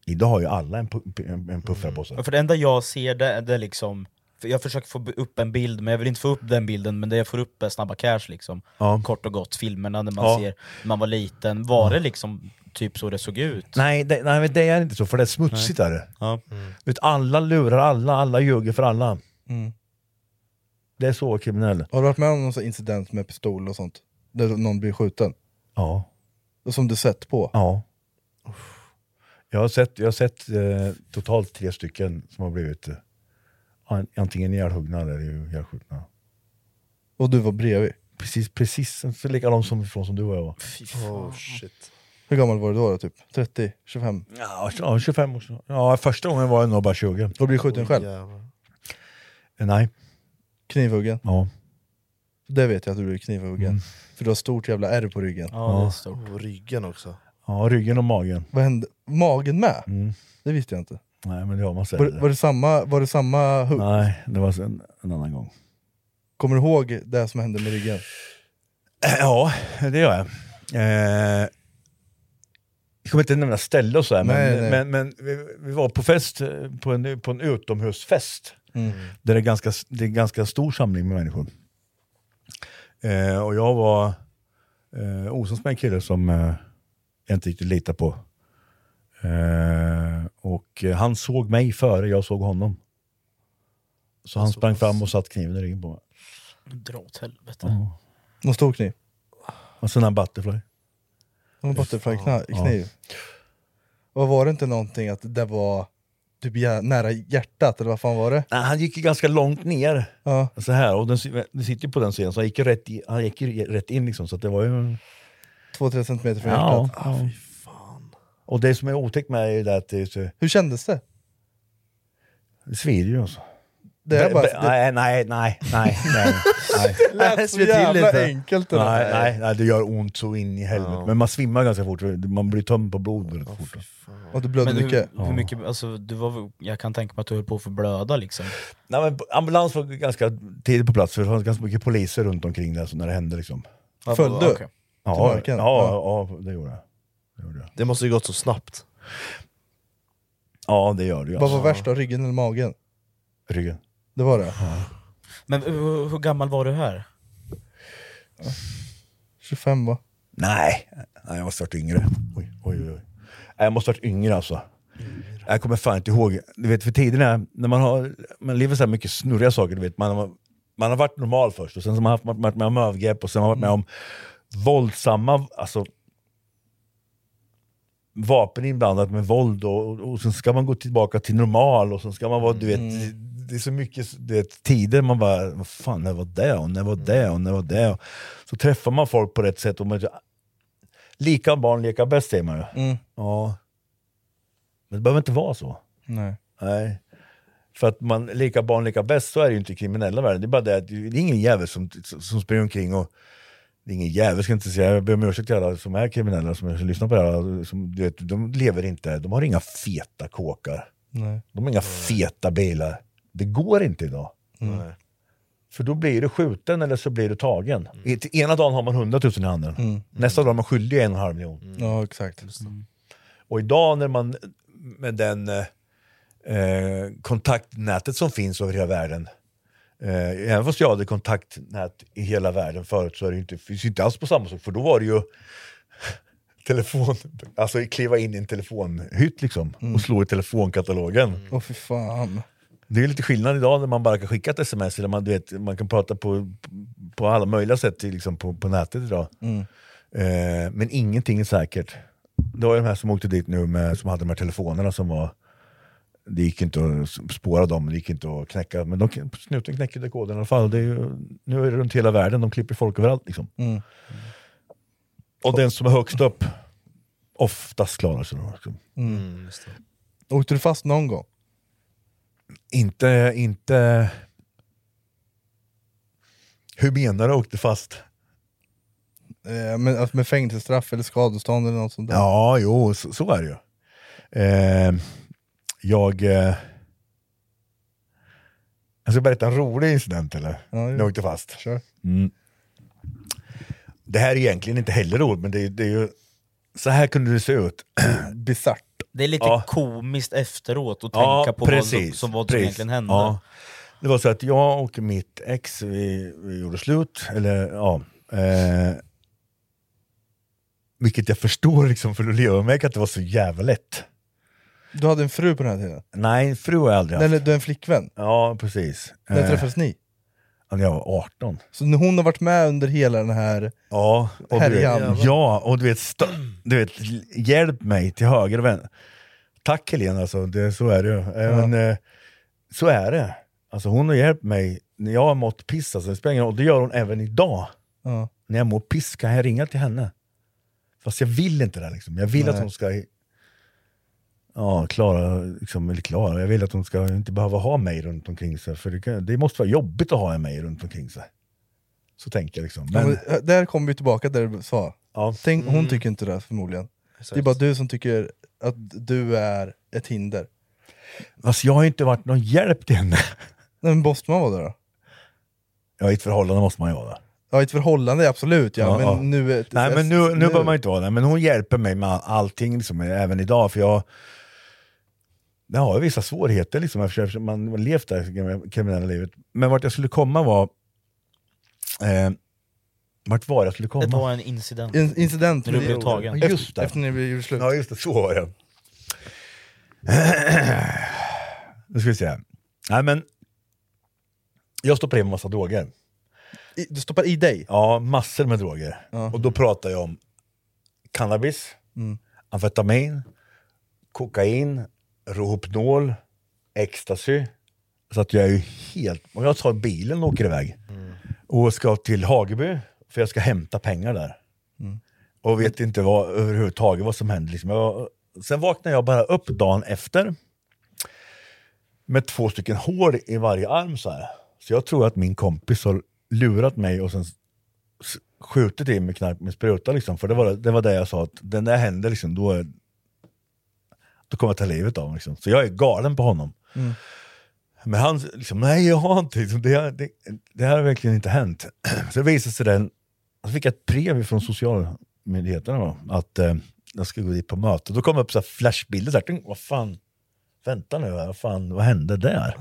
[SPEAKER 2] Idag har ju alla en, pu- en, en puffra på sig.
[SPEAKER 3] Ja, För det enda jag ser det, det är liksom, för jag försöker få upp en bild, men jag vill inte få upp den bilden, men det jag får upp är Snabba Cash liksom.
[SPEAKER 2] Ja.
[SPEAKER 3] Kort och gott, filmerna när man
[SPEAKER 2] Ja.
[SPEAKER 3] ser när man var liten. Var det liksom typ så det såg ut?
[SPEAKER 2] Nej, det, nej, men det är inte så, för det är smutsigt. Är det.
[SPEAKER 3] Ja.
[SPEAKER 2] Vet, alla lurar alla, alla ljuger för alla.
[SPEAKER 1] Mm.
[SPEAKER 2] Det är så kriminell.
[SPEAKER 1] Har du varit med om någon sån incident med pistol och sånt? Där någon blir skjuten?
[SPEAKER 2] Ja.
[SPEAKER 1] Och som du sett på?
[SPEAKER 2] Ja. Jag har sett, jag har sett eh, totalt tre stycken som har blivit eh, an- antingen ihjälhuggna eller ihjälskjutna.
[SPEAKER 1] Och du var bredvid?
[SPEAKER 2] Precis, precis. Så likadan som, ifrån som du och jag var.
[SPEAKER 10] Oh, shit.
[SPEAKER 1] Hur gammal var du då? då typ 30? 25?
[SPEAKER 2] Ja, ja, 25 år sedan. Ja, första gången var jag nog bara 20.
[SPEAKER 1] Och blev skjuten själv?
[SPEAKER 2] Eh, Nej.
[SPEAKER 1] Knivhuggen?
[SPEAKER 2] Ja.
[SPEAKER 1] Det vet jag att du blev knivhuggen.
[SPEAKER 2] Mm.
[SPEAKER 1] För du har stort jävla ärr på ryggen.
[SPEAKER 2] Ja, det är
[SPEAKER 10] stort. Och Oh, ryggen också.
[SPEAKER 2] ja, ryggen och magen.
[SPEAKER 1] Vad hände? Magen med?
[SPEAKER 2] Mm.
[SPEAKER 1] Det visste jag inte.
[SPEAKER 2] Nej, men det har man sett.
[SPEAKER 1] Var, var, det samma, var det samma hugg?
[SPEAKER 2] Nej, det var en, en annan gång.
[SPEAKER 1] Kommer du ihåg det som hände med ryggen?
[SPEAKER 2] Eh, Ja, det gör jag. Eh, jag kommer inte nämna ställe och sådär, men,
[SPEAKER 1] Nej, nej.
[SPEAKER 2] men, men vi, vi var på fest, eh, på en, på en utomhusfest,
[SPEAKER 1] Mm.
[SPEAKER 2] där det är, ganska, det är en ganska stor samling med människor. Eh, och jag var eh, osams med en kille som eh, jag inte riktigt litar på. Eh, och eh, han såg mig före jag såg honom. Så han sprang fram och satte kniven i ryggen på mig.
[SPEAKER 3] Dra åt helvete.
[SPEAKER 2] Ja.
[SPEAKER 1] Någon stor kniv?
[SPEAKER 2] Och sen en butterfly.
[SPEAKER 1] Någon butterflykniv?
[SPEAKER 2] Ja.
[SPEAKER 1] kniv. Och var det inte någonting att det var typ jä- nära hjärtat, eller vad fan var det?
[SPEAKER 2] Nej, han gick ju ganska långt ner.
[SPEAKER 1] Ja.
[SPEAKER 2] Så här, och den, den sitter ju på den sidan, så han gick ju rätt, i, han gick ju rätt in liksom. Så att det var ju...
[SPEAKER 1] 2-3 centimeter från
[SPEAKER 2] Ja,
[SPEAKER 1] hjärtat?
[SPEAKER 2] ja. Och det som är otäckt med är ju det att det, är så-
[SPEAKER 1] Hur kändes det?
[SPEAKER 2] det svider ju alltså.
[SPEAKER 1] Det är
[SPEAKER 2] Be-
[SPEAKER 1] bara-
[SPEAKER 2] be- Nej, nej, nej, nej, nej. nej.
[SPEAKER 1] Det lät så jävla enkelt. det där.
[SPEAKER 2] Nej, nej, nej, det gör ont så in i helvete. Men man svimmar ganska fort, man blir tömd på blod väldigt fort.
[SPEAKER 1] Och du blödde
[SPEAKER 3] Men
[SPEAKER 1] mycket?
[SPEAKER 3] Hur, hur mycket alltså, du var, jag kan tänka mig att du höll på att förblöda liksom.
[SPEAKER 2] Nej, men ambulans var ganska tidigt på plats, för det fanns ganska mycket poliser runt omkring där, så när det hände liksom.
[SPEAKER 3] Ja, Följde du? okej.
[SPEAKER 2] Ja,
[SPEAKER 10] Till marken?
[SPEAKER 2] Ja, ja, det gjorde jag.
[SPEAKER 10] Det måste ju gått så snabbt.
[SPEAKER 2] Ja, det gör det ju.
[SPEAKER 1] Vad var
[SPEAKER 2] alltså.
[SPEAKER 1] värst då? Ryggen eller magen?
[SPEAKER 2] Ryggen.
[SPEAKER 1] Det var det?
[SPEAKER 2] Mm.
[SPEAKER 3] Men uh, hur, hur gammal var du här?
[SPEAKER 1] 25 va?
[SPEAKER 2] Nej, Nej jag måste ha varit yngre. Oj, oj, oj. Nej, Jag måste ha varit yngre alltså. Jag kommer fan inte ihåg. Du vet, för tiden är, när man, har, man lever så här mycket snurriga saker, du vet. Man, har- man har varit normal först, och sen har man haft, varit med om Mm. övergrepp, och sen har man varit med om våldsamma, alltså vapen inblandat med våld och, och, och sen ska man gå tillbaka till normal och sen ska man vara, du vet, det är så mycket du vet, tider man bara, vad fan, när var det och när var det och när var det? Och så träffar man folk på rätt sätt och man, lika barn leka bäst säger man ju.
[SPEAKER 1] Mm.
[SPEAKER 2] Ja. Men det behöver inte vara så.
[SPEAKER 1] Nej.
[SPEAKER 2] Nej. För att man, lika barn lika bäst, så är det ju inte i kriminella världen. Det är bara det att det är ingen jävel som, som springer omkring och... Det är ingen jävel, ska jag inte säga. Jag ber om ursäkt till alla som är kriminella som lyssnar på det här. Som, du vet, de lever inte, de har inga feta kåkar.
[SPEAKER 1] Nej.
[SPEAKER 2] De har inga feta bilar. Det går inte idag.
[SPEAKER 1] Mm.
[SPEAKER 2] För då blir du skjuten eller så blir du tagen.
[SPEAKER 1] Mm.
[SPEAKER 2] I- Ena dagen har man 100 000 i handen. Nästa dag är man skyldig en och en halv miljon.
[SPEAKER 1] Ja, exakt.
[SPEAKER 2] Och idag när man med den eh, eh, kontaktnätet som finns över hela världen. Eh, även fast jag hade kontaktnät i hela världen förut så är det ju inte, finns ju inte alls på samma sätt. För då var det ju telefon, alltså kliva in i en telefonhytt liksom och slå i telefonkatalogen.
[SPEAKER 1] Åh fy fan.
[SPEAKER 2] Det är lite skillnad idag när man bara kan skicka ett sms, eller man, du vet, man kan prata på, på alla möjliga sätt till, liksom, på, på nätet idag.
[SPEAKER 1] Mm.
[SPEAKER 2] Eh, men ingenting är säkert. Det var ju de här som åkte dit nu, med, som hade de här telefonerna som var... Det gick inte att spåra dem, det gick inte att knäcka, men de, snuten knäckte koden i alla fall. Det är ju, nu är det runt hela världen, de klipper folk överallt. Liksom.
[SPEAKER 1] Mm.
[SPEAKER 2] Och den som är högst upp, oftast klarar sig. då, Liksom.
[SPEAKER 1] Mm. Åkte du fast någon gång?
[SPEAKER 2] Inte, inte... Hur menar du åkte fast?
[SPEAKER 1] Eh, men, alltså, med fängelsestraff eller skadestånd eller något sånt där?
[SPEAKER 2] Ja, jo, så, så är det ju. Eh, jag... Eh, alltså, jag ska berätta en rolig incident eller?
[SPEAKER 1] Ja,
[SPEAKER 2] När
[SPEAKER 1] ja.
[SPEAKER 2] jag åkte fast.
[SPEAKER 1] Kör.
[SPEAKER 2] Mm. Det här är egentligen inte heller roligt, men det, är- det är ju... Så här kunde det se ut.
[SPEAKER 1] Bisarrt.
[SPEAKER 3] Det är lite
[SPEAKER 2] Ja.
[SPEAKER 3] komiskt efteråt att
[SPEAKER 2] Ja,
[SPEAKER 3] tänka på vad som, vad som
[SPEAKER 2] precis.
[SPEAKER 3] egentligen hände.
[SPEAKER 2] Ja. Det var så att jag och mitt ex, vi, vi gjorde slut, eller ja. Eh, vilket jag förstår liksom, för att leva med mig, att det var så jävla lätt.
[SPEAKER 1] Du hade en fru på den här tiden?
[SPEAKER 2] Nej, en fru har jag aldrig haft.
[SPEAKER 1] Eller du har en flickvän?
[SPEAKER 2] Ja, precis.
[SPEAKER 1] När
[SPEAKER 2] Eh,
[SPEAKER 1] träffades ni?
[SPEAKER 2] ja, När jag var 18.
[SPEAKER 1] Så hon har varit med under hela den här...
[SPEAKER 2] Ja, och du
[SPEAKER 1] Härjan.
[SPEAKER 2] vet, ja, och du vet, st- du vet hjälp mig till höger och vänster. Tack Helena, alltså, det, så är det ju. Även, eh, Så är det. Alltså, hon har hjälpt mig när jag har mått piss, alltså, det spelar ingen roll. och det gör hon även idag.
[SPEAKER 1] Ja.
[SPEAKER 2] När jag mår piss kan jag ringa till henne. Fast jag vill inte det. Liksom. Jag vill
[SPEAKER 1] Nej.
[SPEAKER 2] att hon ska ja, klara, liksom, eller klara, jag vill att hon ska inte behöva ha mig runt omkring sig. För det, kan, det måste vara jobbigt att ha mig runt omkring sig. Så tänker jag liksom.
[SPEAKER 1] Ja,
[SPEAKER 2] Men,
[SPEAKER 1] men, eh, där kommer vi tillbaka där du sa.
[SPEAKER 2] Ja.
[SPEAKER 1] Tänk, hon
[SPEAKER 2] Mm.
[SPEAKER 1] tycker inte det förmodligen. Det är bara du som tycker att du är ett hinder.
[SPEAKER 2] Alltså jag har ju inte varit någon hjälp till henne.
[SPEAKER 1] Nej, men måste man vara det då?
[SPEAKER 2] Ja, i ett förhållande måste man ju vara det.
[SPEAKER 1] Ja, i ett förhållande absolut ja,
[SPEAKER 2] Ja,
[SPEAKER 1] men
[SPEAKER 2] ja.
[SPEAKER 1] nu... är-
[SPEAKER 2] Nej, men nu, nu, behöver man inte vara det. Men hon hjälper mig med allting, liksom, även idag. För jag, jag har ju vissa svårigheter, liksom, eftersom man har levt det här kriminella livet. Men vart jag skulle komma var... Eh, vart var jag skulle komma?
[SPEAKER 3] Det var en incident.
[SPEAKER 1] In- incident.
[SPEAKER 3] När du blev tagen.
[SPEAKER 2] Ja, Just det.
[SPEAKER 1] Efter ni blev slut.
[SPEAKER 2] Ja, just det. Så var det. nu ska vi se. Nej, men... Jag stoppar in massa droger.
[SPEAKER 1] I, du stoppar i dig?
[SPEAKER 2] Ja, massor med droger. Och då pratar jag om cannabis,
[SPEAKER 1] Mm.
[SPEAKER 2] amfetamin, kokain, Rohypnol, ecstasy. Så att jag är ju helt... Och jag tar bilen och åker iväg.
[SPEAKER 1] Mm.
[SPEAKER 2] Och ska till Hageby, för jag ska hämta pengar där. Och vet inte vad, överhuvudtaget vad som händer. Liksom. Jag, sen vaknar jag bara upp dagen efter med två stycken hål i varje arm så här. Så jag tror att min kompis har lurat mig och sen s- s- skjutit i mig knark med spruta liksom. För det var det, var det jag sa, att den där händer liksom, då, är- då kommer jag ta livet av honom. Liksom. Så jag är galen på honom.
[SPEAKER 1] Mm.
[SPEAKER 2] Men han liksom, nej jag har inte, liksom, det, det, det här har verkligen inte hänt. Så det visade sig den, så fick jag ett brev från socialmyndigheterna va, att eh, jag skulle gå dit på möte. Då kom upp så här flashbilder, så här, "Ting, vad fan, vänta nu, här, vad fan, vad hände där?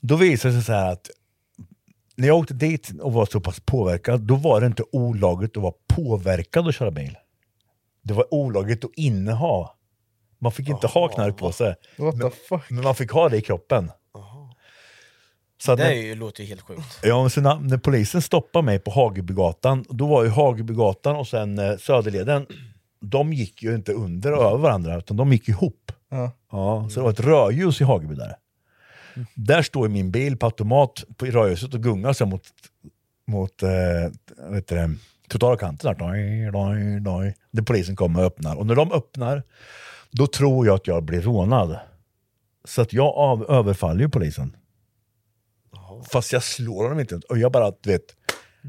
[SPEAKER 2] Då visade det sig så här att när jag åkte dit och var så pass påverkad, då var det inte olagligt att vara påverkad och köra bil. Det var olagligt att inneha. Man fick inte ha knark på sig.
[SPEAKER 1] What the fuck?
[SPEAKER 2] Men man fick ha det i kroppen. Så att
[SPEAKER 3] Det
[SPEAKER 2] när-
[SPEAKER 3] är ju, låter ju helt sjukt.
[SPEAKER 2] Ja, men sen när, när polisen stoppade mig på Hagebygatan, då var ju Hagebygatan och sen eh, Söderleden de gick ju inte under och över varandra, utan de gick ihop.
[SPEAKER 1] Ja.
[SPEAKER 2] Ja, så det var ett rödljus i Hageby där. Där står ju min bil på automat på i rödljuset och gungar sig mot, mot eh, vad heter det, trottoarkanten. där. Doj, doj, doj. När polisen kommer och öppnar. Och när de öppnar, då tror jag att jag blir rånad. Så att jag av, överfaller ju polisen. Fast jag slår honom inte. Och jag bara, du vet,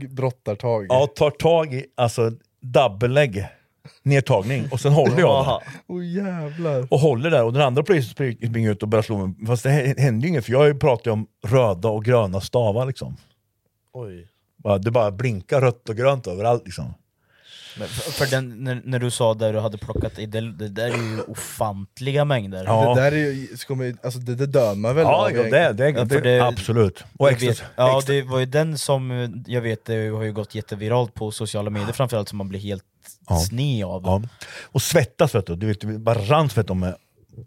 [SPEAKER 1] Brottar tag.
[SPEAKER 2] ja, tar tag i, alltså dubbellägg, nedtagning. Och sen håller jag. den.
[SPEAKER 1] Åh jävlar.
[SPEAKER 2] Och håller där, och den andra polisen spring- springer ut och börjar slå mig. Fast det h- hände ju inget, för jag pratar ju om röda och gröna stavar liksom.
[SPEAKER 10] Oj.
[SPEAKER 2] Bara- Det bara blinkar rött och grönt överallt liksom.
[SPEAKER 3] Men för för den, när, när du sa där du hade plockat i, det, det där är ju ofantliga mängder.
[SPEAKER 1] Det där är ju, ska man, ju- alltså det, det dör man väl av egentligen.
[SPEAKER 3] Ja, för
[SPEAKER 1] Jag
[SPEAKER 3] jag vet,
[SPEAKER 1] vet.
[SPEAKER 3] ja, det var ju den som eh, jag vet det har ju gått jätteviralt på sociala medier framförallt som man blir helt
[SPEAKER 2] Ja.
[SPEAKER 3] sned av.
[SPEAKER 2] Ja. Och svettas vet du, du vet, det bara rann svett om mig.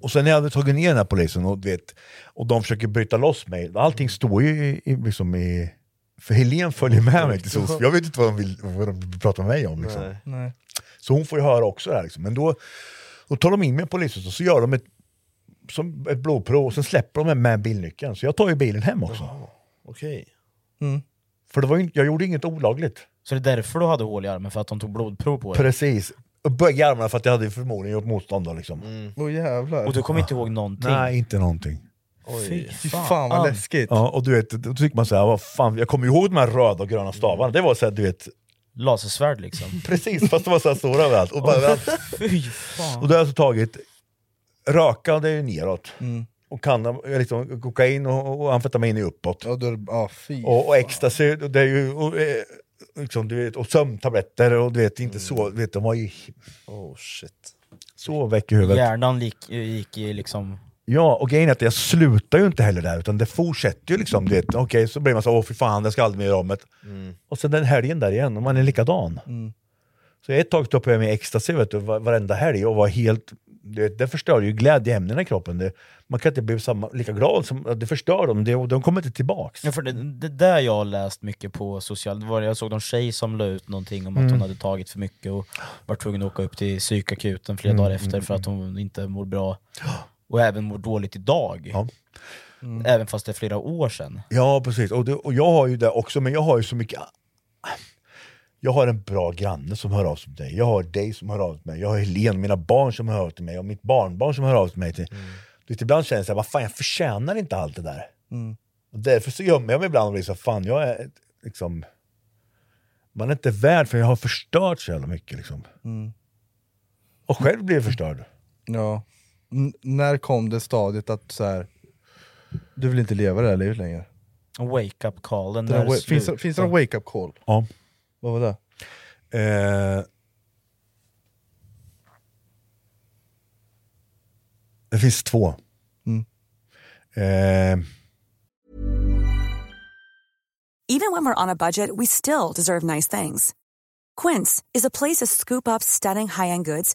[SPEAKER 2] Och sen när jag hade tagit ner den här polisen och, du vet, och de försöker bryta loss mig, allting står ju i, i, liksom i... För Helene följer med mig till SOS, för jag vet inte vad de vill, vad de vill prata med mig om. Liksom.
[SPEAKER 10] Nej.
[SPEAKER 1] Nej.
[SPEAKER 2] Så hon får ju höra också det här. Liksom. Men då, då tar de in mig i polishuset och så gör de ett, som ett blodprov och sen släpper de mig med bilnyckeln. Så jag tar ju bilen hem också.
[SPEAKER 10] Okej.
[SPEAKER 2] För det var ju, inte- jag gjorde inget olagligt.
[SPEAKER 3] Så det är därför du hade hål i armen, för att de tog blodprov på dig?
[SPEAKER 2] Precis. Och Böjde armarna för att jag hade förmodligen gjort motstånd. Då, liksom.
[SPEAKER 1] Mm. Åh jävlar.
[SPEAKER 3] Och du kommer inte ihåg någonting?
[SPEAKER 2] Nej, inte någonting.
[SPEAKER 3] Fy
[SPEAKER 1] Fy fan vad läskigt.
[SPEAKER 2] Ja, och du vet, då tycker man såhär, vad fan, jag kommer ju ihåg de här röda och gröna stavarna. Det var såhär, du vet...
[SPEAKER 3] Lasersvärd liksom.
[SPEAKER 2] Precis, fast det var såhär stora överallt. Och, bara, överallt.
[SPEAKER 3] Fy fan.
[SPEAKER 2] och då har jag så tagit, röka det är ju neråt.
[SPEAKER 1] Mm.
[SPEAKER 2] Och kan, liksom, kokain och, och amfetamin är uppåt.
[SPEAKER 1] Ja, då, ja, fy
[SPEAKER 2] och, och ecstasy, och det är ju... Och, eh, liksom, du vet, och sömntabletter och du vet, inte så. Du vet, de var ju...
[SPEAKER 10] Mm. Oh shit.
[SPEAKER 2] Så väck i huvudet.
[SPEAKER 3] Hjärnan gick, gick i liksom...
[SPEAKER 2] Ja, och grejen är att jag slutar ju inte heller där, utan det fortsätter ju liksom. Du vet, okej, så blir man så åh fy fan, det ska aldrig mer göra om det. Och sen den helgen där igen, och man är likadan. Så ett tag stoppade jag mig i ecstasy vet du, va- varenda helg och var helt... Du vet, det förstör ju glädjeämnena i kroppen. Det, man kan inte bli samma, lika glad, som, det förstör dem, det, och de kommer inte tillbaks.
[SPEAKER 3] Ja, för det, det där jag har läst mycket på sociala det var jag såg någon tjej som la ut någonting om att
[SPEAKER 2] Mm.
[SPEAKER 3] hon hade tagit för mycket och var tvungen att åka upp till psykakuten flera
[SPEAKER 2] Mm,
[SPEAKER 3] dagar
[SPEAKER 2] mm,
[SPEAKER 3] efter för att hon inte mår bra. Och även mår dåligt idag. Även fast det är flera år sedan.
[SPEAKER 2] Ja, precis. Och, det, och jag har ju det också, men jag har ju så mycket... Jag har en bra granne som hör av sig till mig. Jag har dig som hör av sig till mig. Jag har Helene, mina barn som hör av sig till mig. Och mitt barnbarn som hör av sig till mig. Till. Du vet, ibland känner jag så här, vad fan, jag förtjänar inte allt det där.
[SPEAKER 1] Mm.
[SPEAKER 2] Och därför så gömmer jag mig ibland och blir så här, fan, jag är liksom... Man är inte värd för jag har förstört så jävla mycket. Liksom.
[SPEAKER 1] Mm.
[SPEAKER 2] Och själv blir jag förstörd.
[SPEAKER 1] Ja. N- när kom det stadiet att så här, du vill inte leva det här livet längre?
[SPEAKER 3] Wake-up callen.
[SPEAKER 1] Den
[SPEAKER 3] när
[SPEAKER 1] här, wa-
[SPEAKER 3] det
[SPEAKER 1] finns, det-
[SPEAKER 3] slutar.
[SPEAKER 1] finns det någon wake-up call?
[SPEAKER 2] Ja.
[SPEAKER 1] Vad var det?
[SPEAKER 2] Eh, det finns två.
[SPEAKER 1] Mm.
[SPEAKER 2] Eh,
[SPEAKER 16] Even when we're on a budget, we still deserve nice things. Quince is a place to scoop up stunning high-end goods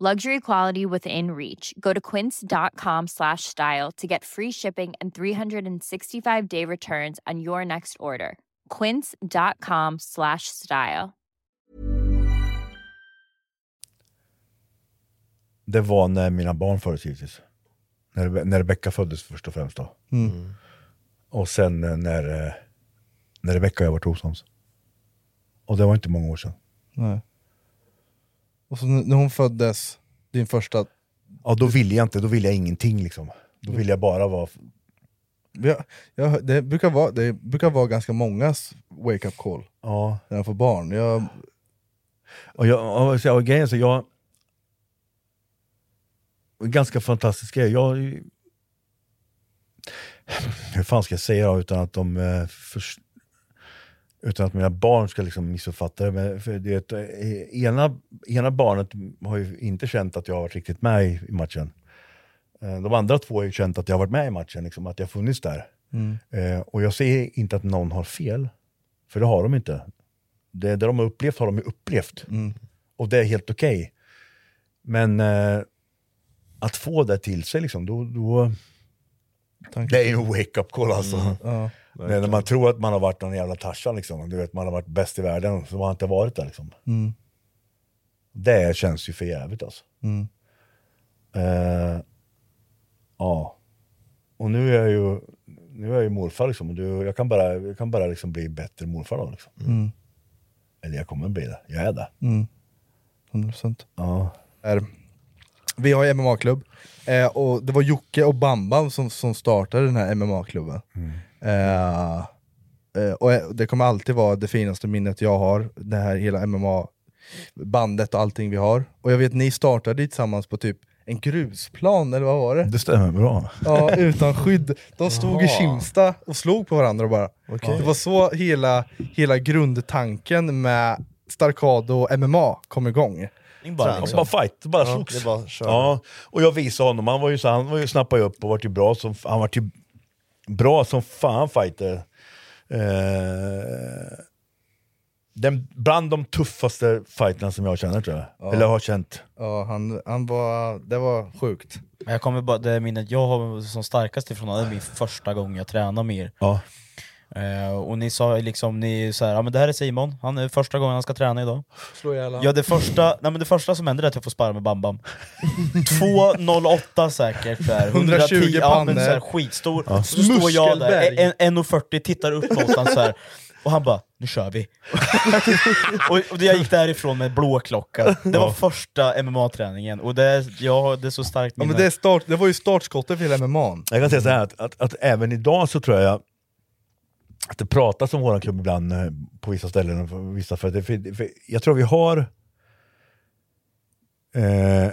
[SPEAKER 17] Luxury quality within reach. Go to quince.com slash style to get free shipping and 365 day returns on your next order. Quince.com slash style.
[SPEAKER 2] det var när mina barn föddes givetvis. När, när Rebecka föddes först och främst då.
[SPEAKER 1] Mm.
[SPEAKER 2] Och sen eh, när, eh, när Rebecka och jag varit osams. Och det var inte många år sedan.
[SPEAKER 1] Nej. Och så n- när hon föddes, din första...
[SPEAKER 2] Ja, då ville jag inte, då ville jag ingenting liksom. Då ville jag bara vara...
[SPEAKER 1] Ja, jag, hör- det, brukar vara, det brukar vara ganska mångas wake-up call.
[SPEAKER 2] Ja.
[SPEAKER 1] När han får barn. Jag...
[SPEAKER 2] Och, jag, och, så- och grejen är så jag... en Ganska fantastisk grej. Jag, hur fan ska jag säga då, utan att de... eh, förs- utan att mina barn ska liksom missuppfatta det. Men för du vet, eh, ena, ena barnet har ju inte känt att jag har varit riktigt med i, i matchen. Eh, De andra två har ju känt att jag har varit med i matchen, liksom, att jag har funnits där.
[SPEAKER 1] Mm.
[SPEAKER 2] Eh, och jag säger inte att någon har fel, för det har de inte. Det, det de har upplevt har de ju upplevt.
[SPEAKER 1] Mm.
[SPEAKER 2] Och det är helt okej. Men eh, att få det till sig, liksom, då, då, det är ju en wake-up call alltså.
[SPEAKER 1] Mm. Ja.
[SPEAKER 2] Det är när man tror att man har varit någon jävla Tarzan, liksom. du vet, man har varit bäst i världen, så har man inte varit där. Liksom.
[SPEAKER 1] Mm.
[SPEAKER 2] Det känns ju för jävligt alltså.
[SPEAKER 1] Mm.
[SPEAKER 2] Eh, ja. Och nu är jag ju, nu är jag ju morfar liksom. Och du, jag kan bara, jag kan bara liksom bli bättre morfar då. Liksom.
[SPEAKER 1] Mm.
[SPEAKER 2] Eller jag kommer bli det. Jag är det.
[SPEAKER 1] Mm. 100%.
[SPEAKER 2] Ja.
[SPEAKER 1] Är, vi har ju MMA-klubb, eh, och det var Jocke och Bambam som, som startade den här MMA-klubben. Eh, eh, och eh, det kommer alltid vara det finaste minnet jag har, det här hela MMA-bandet och allting vi har. Och jag vet ni startade ju tillsammans på typ en grusplan, eller vad var det?
[SPEAKER 2] Det stämmer bra.
[SPEAKER 1] Ja, utan skydd. De stod i
[SPEAKER 2] Jaha.
[SPEAKER 1] Kimsta och slog på varandra bara.
[SPEAKER 2] Okej.
[SPEAKER 1] Det var så hela, hela grundtanken med Starkado och MMA kom igång.
[SPEAKER 2] Bara,
[SPEAKER 1] Träning.
[SPEAKER 3] liksom.
[SPEAKER 2] bara fight, bara
[SPEAKER 1] liksom. Ja,
[SPEAKER 2] slogs.
[SPEAKER 1] det är bara att köra.
[SPEAKER 2] ja, och jag visade honom, han var ju så, han var ju snappade upp och vart ju bra som, han vart ju bra som fan fighter. Eh, den, bland de tuffaste fighterna som jag känner tror jag.
[SPEAKER 1] Ja.
[SPEAKER 2] Eller har känt.
[SPEAKER 1] Ja, han, han var, det var sjukt.
[SPEAKER 3] Men jag kommer bara, det minnet jag har som starkast ifrån det är min första gång jag tränar med er.
[SPEAKER 2] Ja.
[SPEAKER 3] Eh, och ni sa ju liksom, ni så här, ja men det här är Simon, han är första gången han ska träna idag.
[SPEAKER 1] Slå ihjäl han.
[SPEAKER 3] Ja det första, nej men det första som händer är att jag får sparra med Bambam. 2.08 säkert, så här,
[SPEAKER 1] 120
[SPEAKER 3] ja,
[SPEAKER 1] pannor.
[SPEAKER 3] men så här, skitstor.
[SPEAKER 1] Ja.
[SPEAKER 3] Så står jag där,
[SPEAKER 1] Muskelberg.
[SPEAKER 3] en- en- 1.40, tittar upp mot honom så här. Och han bara, nu kör vi. och, och jag gick därifrån med blå klocka. Det var
[SPEAKER 1] Ja.
[SPEAKER 3] första MMA-träningen, och det, är- ja, det är så starkt
[SPEAKER 1] Ja, men det, är start, det var ju startskottet för hela MMA. n.
[SPEAKER 2] Jag kan säga så här att, att, att även idag så tror jag att det pratas om våran klubb ibland eh, på vissa ställen. och på Vissa för, det- för, för jag tror vi har... Eh,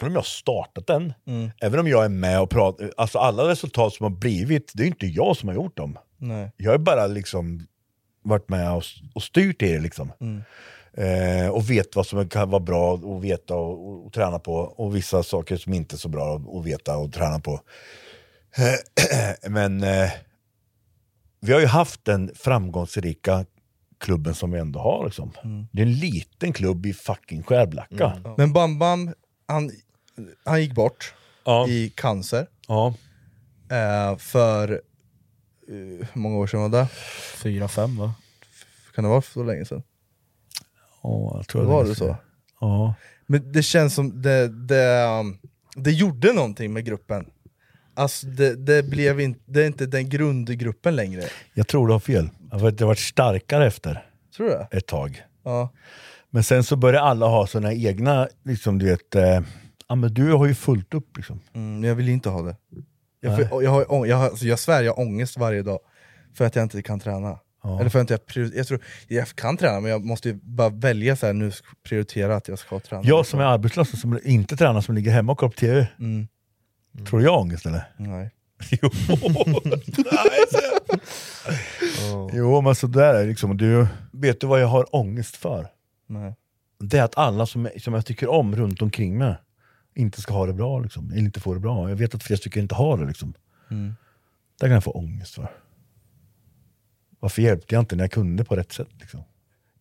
[SPEAKER 2] Även om jag har startat den,
[SPEAKER 1] Mm.
[SPEAKER 2] även om jag är med och pratar, alltså alla resultat som har blivit, det är inte jag som har gjort dem.
[SPEAKER 1] Nej.
[SPEAKER 2] Jag har bara liksom varit med och, och styrt i det liksom.
[SPEAKER 1] Mm.
[SPEAKER 2] Eh, och vet vad som kan vara bra att veta och, och, och träna på och vissa saker som inte är så bra att, att veta och träna på. Men eh, vi har ju haft den framgångsrika klubben som vi ändå har. Liksom.
[SPEAKER 1] Mm.
[SPEAKER 2] Det är en liten klubb i fucking Skärblacka.
[SPEAKER 1] Men Bam Bam, han, han gick bort i cancer. Eh, för, eh, hur många år sedan var det?
[SPEAKER 3] Fyra, fem va?
[SPEAKER 1] Kan det vara så länge sedan?
[SPEAKER 2] Ja, jag tror
[SPEAKER 1] var
[SPEAKER 2] det.
[SPEAKER 1] det så?
[SPEAKER 2] Ja.
[SPEAKER 1] Men det känns som det, det, um, det gjorde någonting med gruppen. Alltså det, det, blev in, det är inte den grundgruppen längre.
[SPEAKER 2] Jag tror du har fel. Jag vet, Det har varit starkare efter
[SPEAKER 1] Tror du det?
[SPEAKER 2] ett tag.
[SPEAKER 1] Ja.
[SPEAKER 2] Men sen så börjar alla ha sina egna, liksom du vet, eh, ja men du har ju fullt upp liksom.
[SPEAKER 1] Mm, jag vill inte ha det. Jag,
[SPEAKER 2] Nej.
[SPEAKER 1] för, jag, har, ång- jag, har, alltså jag svär, jag har ångest varje dag för att jag inte kan träna.
[SPEAKER 2] Ja.
[SPEAKER 1] Eller för att jag, inte prior- jag, tror, jag kan träna, men jag måste ju bara välja så här, nu ska jag prioritera att jag ska träna.
[SPEAKER 2] Jag som är arbetslös och som inte tränar, som ligger hemma och kollar på TV.
[SPEAKER 1] Mm.
[SPEAKER 2] Tror du jag har ångest eller?
[SPEAKER 1] Nej.
[SPEAKER 2] jo. Nej, så- jo, men sådär är det liksom. Du, vet du vad jag har ångest för?
[SPEAKER 1] Nej.
[SPEAKER 2] Det är att alla som, som jag tycker om runt omkring mig inte ska ha det bra, liksom. eller inte få det bra. Jag vet att flera stycken inte har det. Liksom.
[SPEAKER 1] Mm.
[SPEAKER 2] Där kan jag få ångest för. Varför hjälpte jag inte när jag kunde på rätt sätt? Liksom?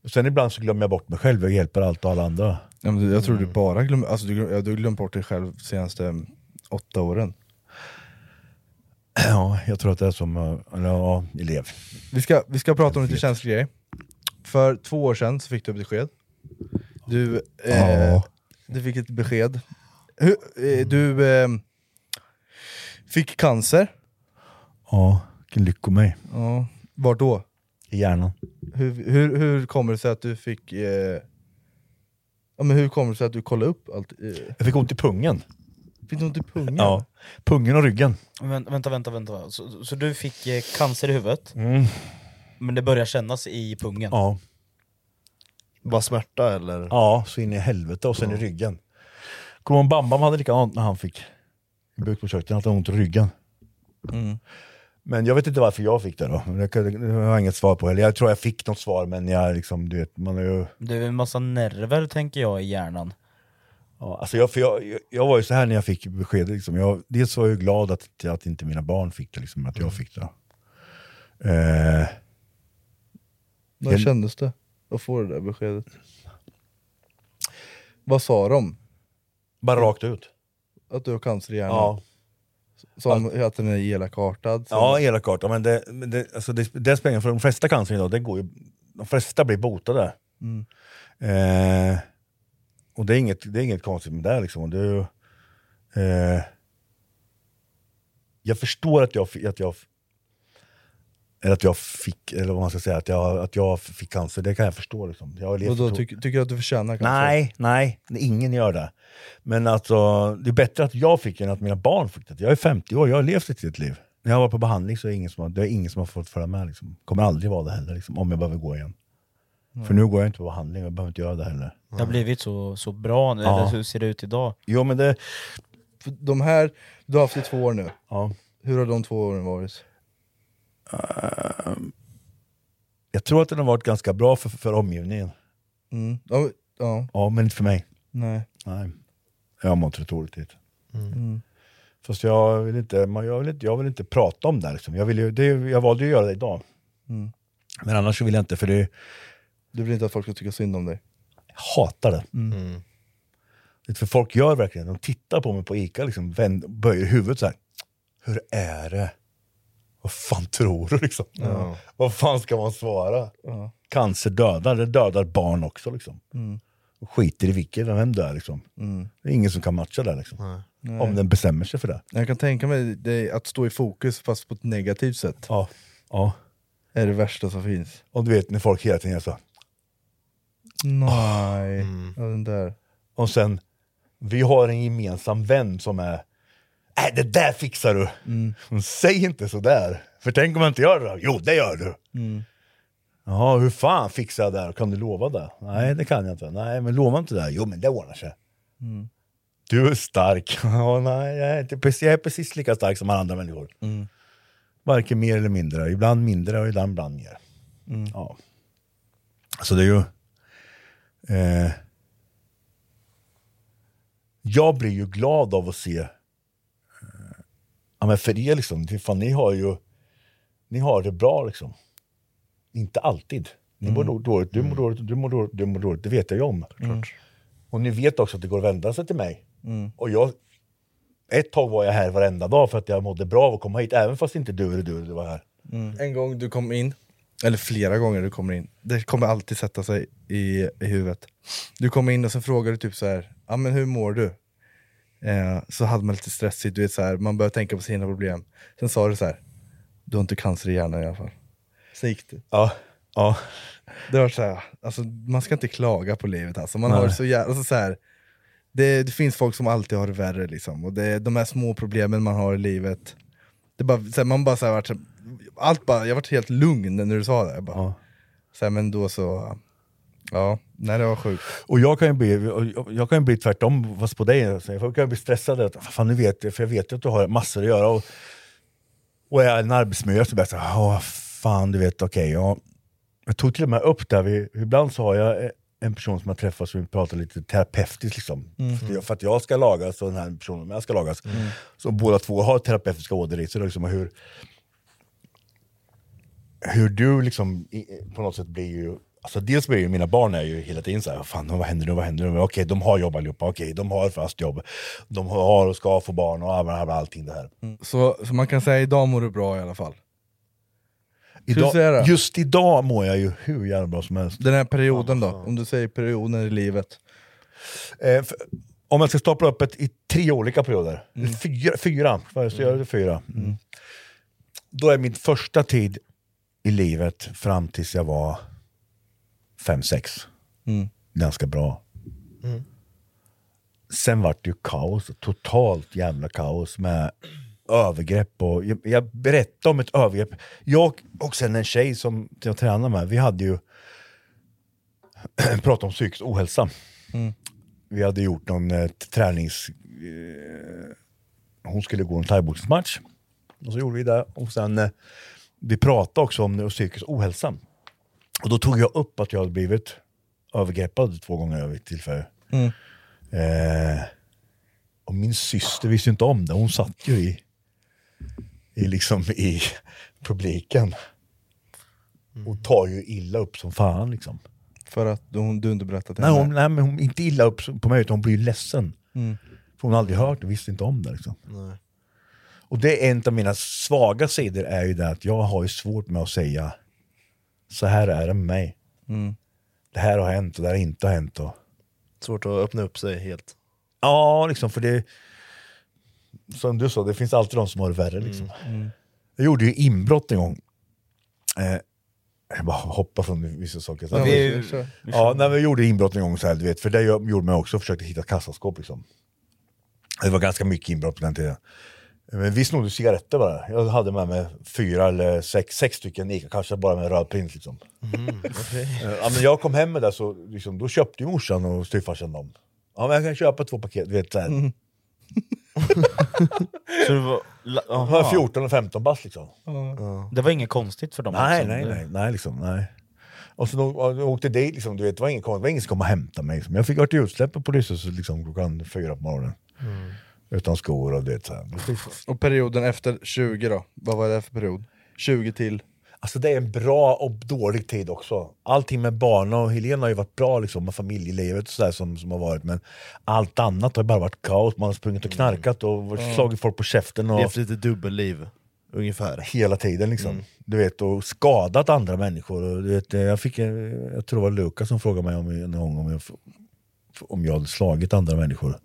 [SPEAKER 2] Och sen ibland så glömmer jag bort mig själv, jag hjälper allt och alla andra.
[SPEAKER 1] Ja, men du- jag tror du bara glömmer alltså, du, glöm- ja, du har glömt bort dig själv senaste mm, åtta åren.
[SPEAKER 2] Ja, jag tror att det är som, eh, eller ja, elev.
[SPEAKER 1] Vi ska, vi ska prata om lite känslig grej. För två år sedan så fick du ett besked. Du, eh,
[SPEAKER 2] Ja.
[SPEAKER 1] du fick ett besked. Hur, eh, du eh, fick cancer.
[SPEAKER 2] Ja, vilken lyckomej.
[SPEAKER 1] Ja. Var då?
[SPEAKER 2] I hjärnan.
[SPEAKER 1] Hur, hur, hur kommer det sig att du fick... Eh, ja, men hur kommer det sig att du kollade upp allt? Eh,
[SPEAKER 2] Jag fick ont i pungen.
[SPEAKER 1] fick du ont i pungen?
[SPEAKER 2] Ja, pungen och ryggen.
[SPEAKER 3] Vänt, vänta, vänta, vänta. Så, så du fick eh, cancer i huvudet,
[SPEAKER 2] Mm.
[SPEAKER 3] men det börjar kännas i pungen?
[SPEAKER 2] Ja.
[SPEAKER 10] Bara smärta eller?
[SPEAKER 2] Ja, så in i helvete och sen i ryggen. Kommer ihåg Bambam hade likadant när han fick bukspottkörteln, att han hade ont i ryggen. Mm. Men jag vet inte varför jag fick det då. Det kan- det har jag inget svar på. Eller jag tror jag fick något svar, men jag liksom, du vet, man är ju...
[SPEAKER 3] Det är en massa nerver tänker jag i hjärnan.
[SPEAKER 2] Ja, alltså jag, för jag, jag- jag var ju så här när jag fick beskedet. Liksom. Jag, dels var jag ju glad att, att inte mina barn fick det, liksom, att jag fick det. Eh,
[SPEAKER 1] När kändes det att få det där beskedet? Vad sa de?
[SPEAKER 2] Bara rakt ut.
[SPEAKER 1] Att du har cancer i hjärnan?
[SPEAKER 2] Ja.
[SPEAKER 1] Som att den är elakartad? som-
[SPEAKER 2] Ja, elakart. Ja, men det, men det, alltså det, det spelar ingen- för de flesta cancer idag, det går ju, de flesta blir botade.
[SPEAKER 1] Mm.
[SPEAKER 2] Eh, och det är, inget, det är inget konstigt med det. Liksom. det är ju, eh, jag förstår att jag, fi- att jag eller att jag fick, eller vad man ska säga, att jag, att jag fick cancer, det kan jag förstå. Liksom. Jag har levt
[SPEAKER 1] Och då
[SPEAKER 2] to-
[SPEAKER 1] tycker, tycker du att du förtjänar cancer?
[SPEAKER 2] Nej, nej, ingen gör det. Men alltså, det är bättre att jag fick det än att mina barn fick det. Jag är 50 år, jag har levt ett helt liv. När jag var på behandling så är det ingen som har, det är ingen som har fått följa med. Liksom. Kommer aldrig vara det heller, liksom, om jag behöver gå igen.
[SPEAKER 3] Nej.
[SPEAKER 2] För nu går jag inte på behandling, jag behöver inte göra det heller.
[SPEAKER 3] Det har blivit så, så bra nu,
[SPEAKER 2] Ja.
[SPEAKER 3] eller hur ser det ut idag?
[SPEAKER 2] Jo, men det...
[SPEAKER 1] För De här, du har haft i två år nu.
[SPEAKER 2] Ja.
[SPEAKER 1] Hur har de två åren varit?
[SPEAKER 2] Jag tror att den har varit ganska bra för, för omgivningen.
[SPEAKER 1] Mm. Ja, ja.
[SPEAKER 2] Ja, men inte för mig.
[SPEAKER 1] Nej.
[SPEAKER 2] Nej. Jag har mått rätt dåligt hit.
[SPEAKER 1] Mm.
[SPEAKER 2] Fast jag vill inte, man- jag vill inte, jag vill inte prata om det. här, Liksom. Jag, vill ju, det är ju- jag valde ju att göra det idag.
[SPEAKER 1] Mm.
[SPEAKER 2] Men annars så vill jag inte, för det,
[SPEAKER 1] Du vill inte att folk ska tycka synd om dig?
[SPEAKER 2] jag hatar det.
[SPEAKER 1] Mm.
[SPEAKER 2] Vet, För folk gör verkligen, de tittar på mig på Ica, liksom, vänd, böjer huvudet så här. Hur är det? Vad fan tror du liksom?
[SPEAKER 1] Ja.
[SPEAKER 2] Vad fan ska man svara?
[SPEAKER 1] Ja.
[SPEAKER 2] Cancer dödar, det dödar barn också liksom.
[SPEAKER 1] Mm.
[SPEAKER 2] Och skiter i vilket, vem det är liksom.
[SPEAKER 1] Mm.
[SPEAKER 2] Det är ingen som kan matcha det liksom.
[SPEAKER 1] Nej.
[SPEAKER 2] Om den bestämmer sig för det.
[SPEAKER 1] Jag kan tänka mig det, att stå i fokus fast på ett negativt sätt.
[SPEAKER 2] Ja. ja.
[SPEAKER 1] Är det värsta som finns.
[SPEAKER 2] Och du vet när folk hela tiden gör så.
[SPEAKER 1] Nej.
[SPEAKER 2] Mm.
[SPEAKER 1] Ja, den där.
[SPEAKER 2] Och sen, vi har en gemensam vän som är, äh, det där fixar du.
[SPEAKER 1] Mm.
[SPEAKER 2] Men Säg inte sådär. För tänk om jag inte gör det då? Jo, det gör du.
[SPEAKER 1] Mm.
[SPEAKER 2] Jaha, hur fan fixar jag det här? Kan du lova det? Nej, det kan jag inte. Nej, men lova inte det. här. Jo, men det ordnar sig.
[SPEAKER 1] Mm.
[SPEAKER 2] Du är stark. Ja, nej, jag, är inte, precis- jag är precis lika stark som alla andra människor.
[SPEAKER 1] Mm.
[SPEAKER 2] Varken mer eller mindre. Ibland mindre och ibland, ibland mer.
[SPEAKER 1] Mm.
[SPEAKER 2] Ja. Så det är ju... Eh, jag blir ju glad av att se... Eh, ja, men för er liksom, det- fan, ni har ju... Ni har det bra liksom. Inte alltid. Ni mår
[SPEAKER 10] Mm.
[SPEAKER 2] dåligt, du mår dåligt, du mår dåligt, du mår dåligt. Det vet jag ju om.
[SPEAKER 10] Mm.
[SPEAKER 2] Och ni vet också att det går att vända sig till mig.
[SPEAKER 1] Mm.
[SPEAKER 2] Och jag, ett tag var jag här varenda dag för att jag mådde bra av att komma hit, även fast inte du eller du, du var här.
[SPEAKER 1] En gång du kom in, eller flera gånger du kommer in, det kommer alltid sätta sig i, i huvudet. Du kommer in och så frågar du typ så här, ja men hur mår du? Eh, så hade man lite stressigt, du vet så här, man börjar tänka på sina problem. Sen sa du så här, du har inte cancer i hjärnan i alla fall. Sen gick det.
[SPEAKER 2] Ja, ja.
[SPEAKER 1] Det var så här, alltså, man ska inte klaga på livet alltså. Man har
[SPEAKER 2] Nej.
[SPEAKER 1] det så jävla, alltså, så här, det, det finns folk som alltid har det värre liksom. Och det, de här små problemen man har i livet, det är bara, så här, man bara så här, varit, så- allt bara, jag varit helt lugn när du sa det. Jag bara, så här, men då så, ja, nej det var sjukt.
[SPEAKER 2] Och jag kan ju bli, och jag- jag kan ju bli tvärtom, fast på dig. alltså. Jag kan ju bli stressad, att, fan, nu vet jag, för jag vet ju att du har massor att göra. Och, och jag är i en arbetsmiljö så blir jag såhär, ja fan du vet, okej. ja. jag tog till och med upp där, vi, ibland så har jag eh, en person som jag träffar som vi pratar lite terapeutiskt liksom.
[SPEAKER 10] Mm.
[SPEAKER 2] För, jag- för att jag ska lagas och den här personen med ska lagas.
[SPEAKER 10] Mm.
[SPEAKER 2] Så båda två har terapeutiska ådror i sig. Liksom, och hur, hur du liksom i- på något sätt blir ju Alltså dels blir ju mina barn är ju hela tiden så här, fan vad händer nu, vad händer nu? Okej, de har jobb allihopa, okej, de har fast jobb, de har och ska få barn och all- all- allting det här.
[SPEAKER 1] Mm. Så, så man kan säga idag mår du bra i alla fall. Ska du säga
[SPEAKER 2] Idag,
[SPEAKER 1] det?
[SPEAKER 2] just idag mår jag ju hur jävla bra som helst.
[SPEAKER 1] Den här perioden då, om du säger perioden i livet.
[SPEAKER 2] Eh, för, om jag ska stapla upp ett i tre olika perioder, fyra, fyra, vad ska jag göra det fyra? Mm. Då är min första tid i livet fram tills jag var fem sex Mm. ganska bra.
[SPEAKER 10] Mm.
[SPEAKER 2] Sen vart det ju kaos, totalt jävla kaos med övergrepp och jag, jag berättade om ett övergrepp. Jag och sen en tjej som jag tränade med, vi hade ju pratat om psykisk ohälsa.
[SPEAKER 1] Mm.
[SPEAKER 2] Vi hade gjort någon eh, tränings... Eh, hon skulle gå en thaiboxningsmatch. Och så gjorde vi det. Och sen, eh, vi pratade också om eh, psykisk ohälsa. Och då tog jag upp att jag hade blivit övergreppad två gånger över ett tillfälle.
[SPEAKER 1] Mm.
[SPEAKER 2] Eh, och min syster visste ju inte om det. Hon satt ju i, i, liksom i publiken. Och tar ju illa upp som fan. Liksom.
[SPEAKER 1] För att hon, du inte berättat
[SPEAKER 2] Nej, hon, nej, men hon inte illa upp som- på mig, utan hon blir ju ledsen.
[SPEAKER 1] Mm.
[SPEAKER 2] För hon har aldrig hört det, visste inte om det. Liksom.
[SPEAKER 10] Nej.
[SPEAKER 2] Och det är en av mina svaga sidor, är ju det att jag har ju svårt med att säga så här är det med mig.
[SPEAKER 1] Mm.
[SPEAKER 2] Det här har hänt och det här har inte hänt. Och...
[SPEAKER 10] Svårt att öppna upp sig helt.
[SPEAKER 2] Ja, liksom, för det... Som du sa, det finns alltid de som har det värre. Liksom. Jag gjorde ju inbrott en gång. Eh, jag bara hoppar från vissa saker.
[SPEAKER 3] Ja, vi- vi kör.
[SPEAKER 2] ja,
[SPEAKER 3] Vi kör.
[SPEAKER 2] när vi gjorde inbrott en gång, så här, du vet, för det jag- gjorde man också, försökte hitta ett kassaskåp. Liksom. Det var ganska mycket inbrott på den tiden. Men vi snodde cigaretter bara. Jag hade med mig fyra eller sex, sex stycken ICA-kassar bara med röd print. Liksom. Eh, Ja, men jag kom hem med det, så liksom, då köpte ju morsan och styvfarsan dem. Ja, men jag kan köpa två paket. Du vet, så här.
[SPEAKER 3] Så det var... la-
[SPEAKER 2] De
[SPEAKER 3] aha.
[SPEAKER 2] var 14 och 15 bast liksom.
[SPEAKER 3] Det var inget konstigt för dem?
[SPEAKER 2] Nej,
[SPEAKER 3] liksom.
[SPEAKER 2] nej,
[SPEAKER 3] Det-
[SPEAKER 2] nej, nej, liksom, nej. Och så då- och då åkte jag dit, liksom, du vet, det var ingen, kom- det var ingen som kom och hämtade mig. Liksom. Jag fick vart utsläpp på polishuset liksom, klockan fyra på morgonen.
[SPEAKER 1] Mm.
[SPEAKER 2] Utan skor och du vet. Så här.
[SPEAKER 1] Och perioden efter 20 då, vad var det för period? 20 till?
[SPEAKER 2] Alltså det är en bra och dålig tid också. Allting med barnen och Helena har ju varit bra liksom, med familjelivet och sådär som, som har varit. Men allt annat har ju bara varit kaos. Man har sprungit och knarkat och
[SPEAKER 10] Ja.
[SPEAKER 2] slagit folk på käften. Och...
[SPEAKER 10] Levt lite dubbelliv, ungefär.
[SPEAKER 2] hela tiden. Liksom. Du vet, och skadat andra människor. Och, du vet, jag, fick, en- jag tror det var Lukas som frågade mig om, någon gång om jag, f- om jag hade slagit andra människor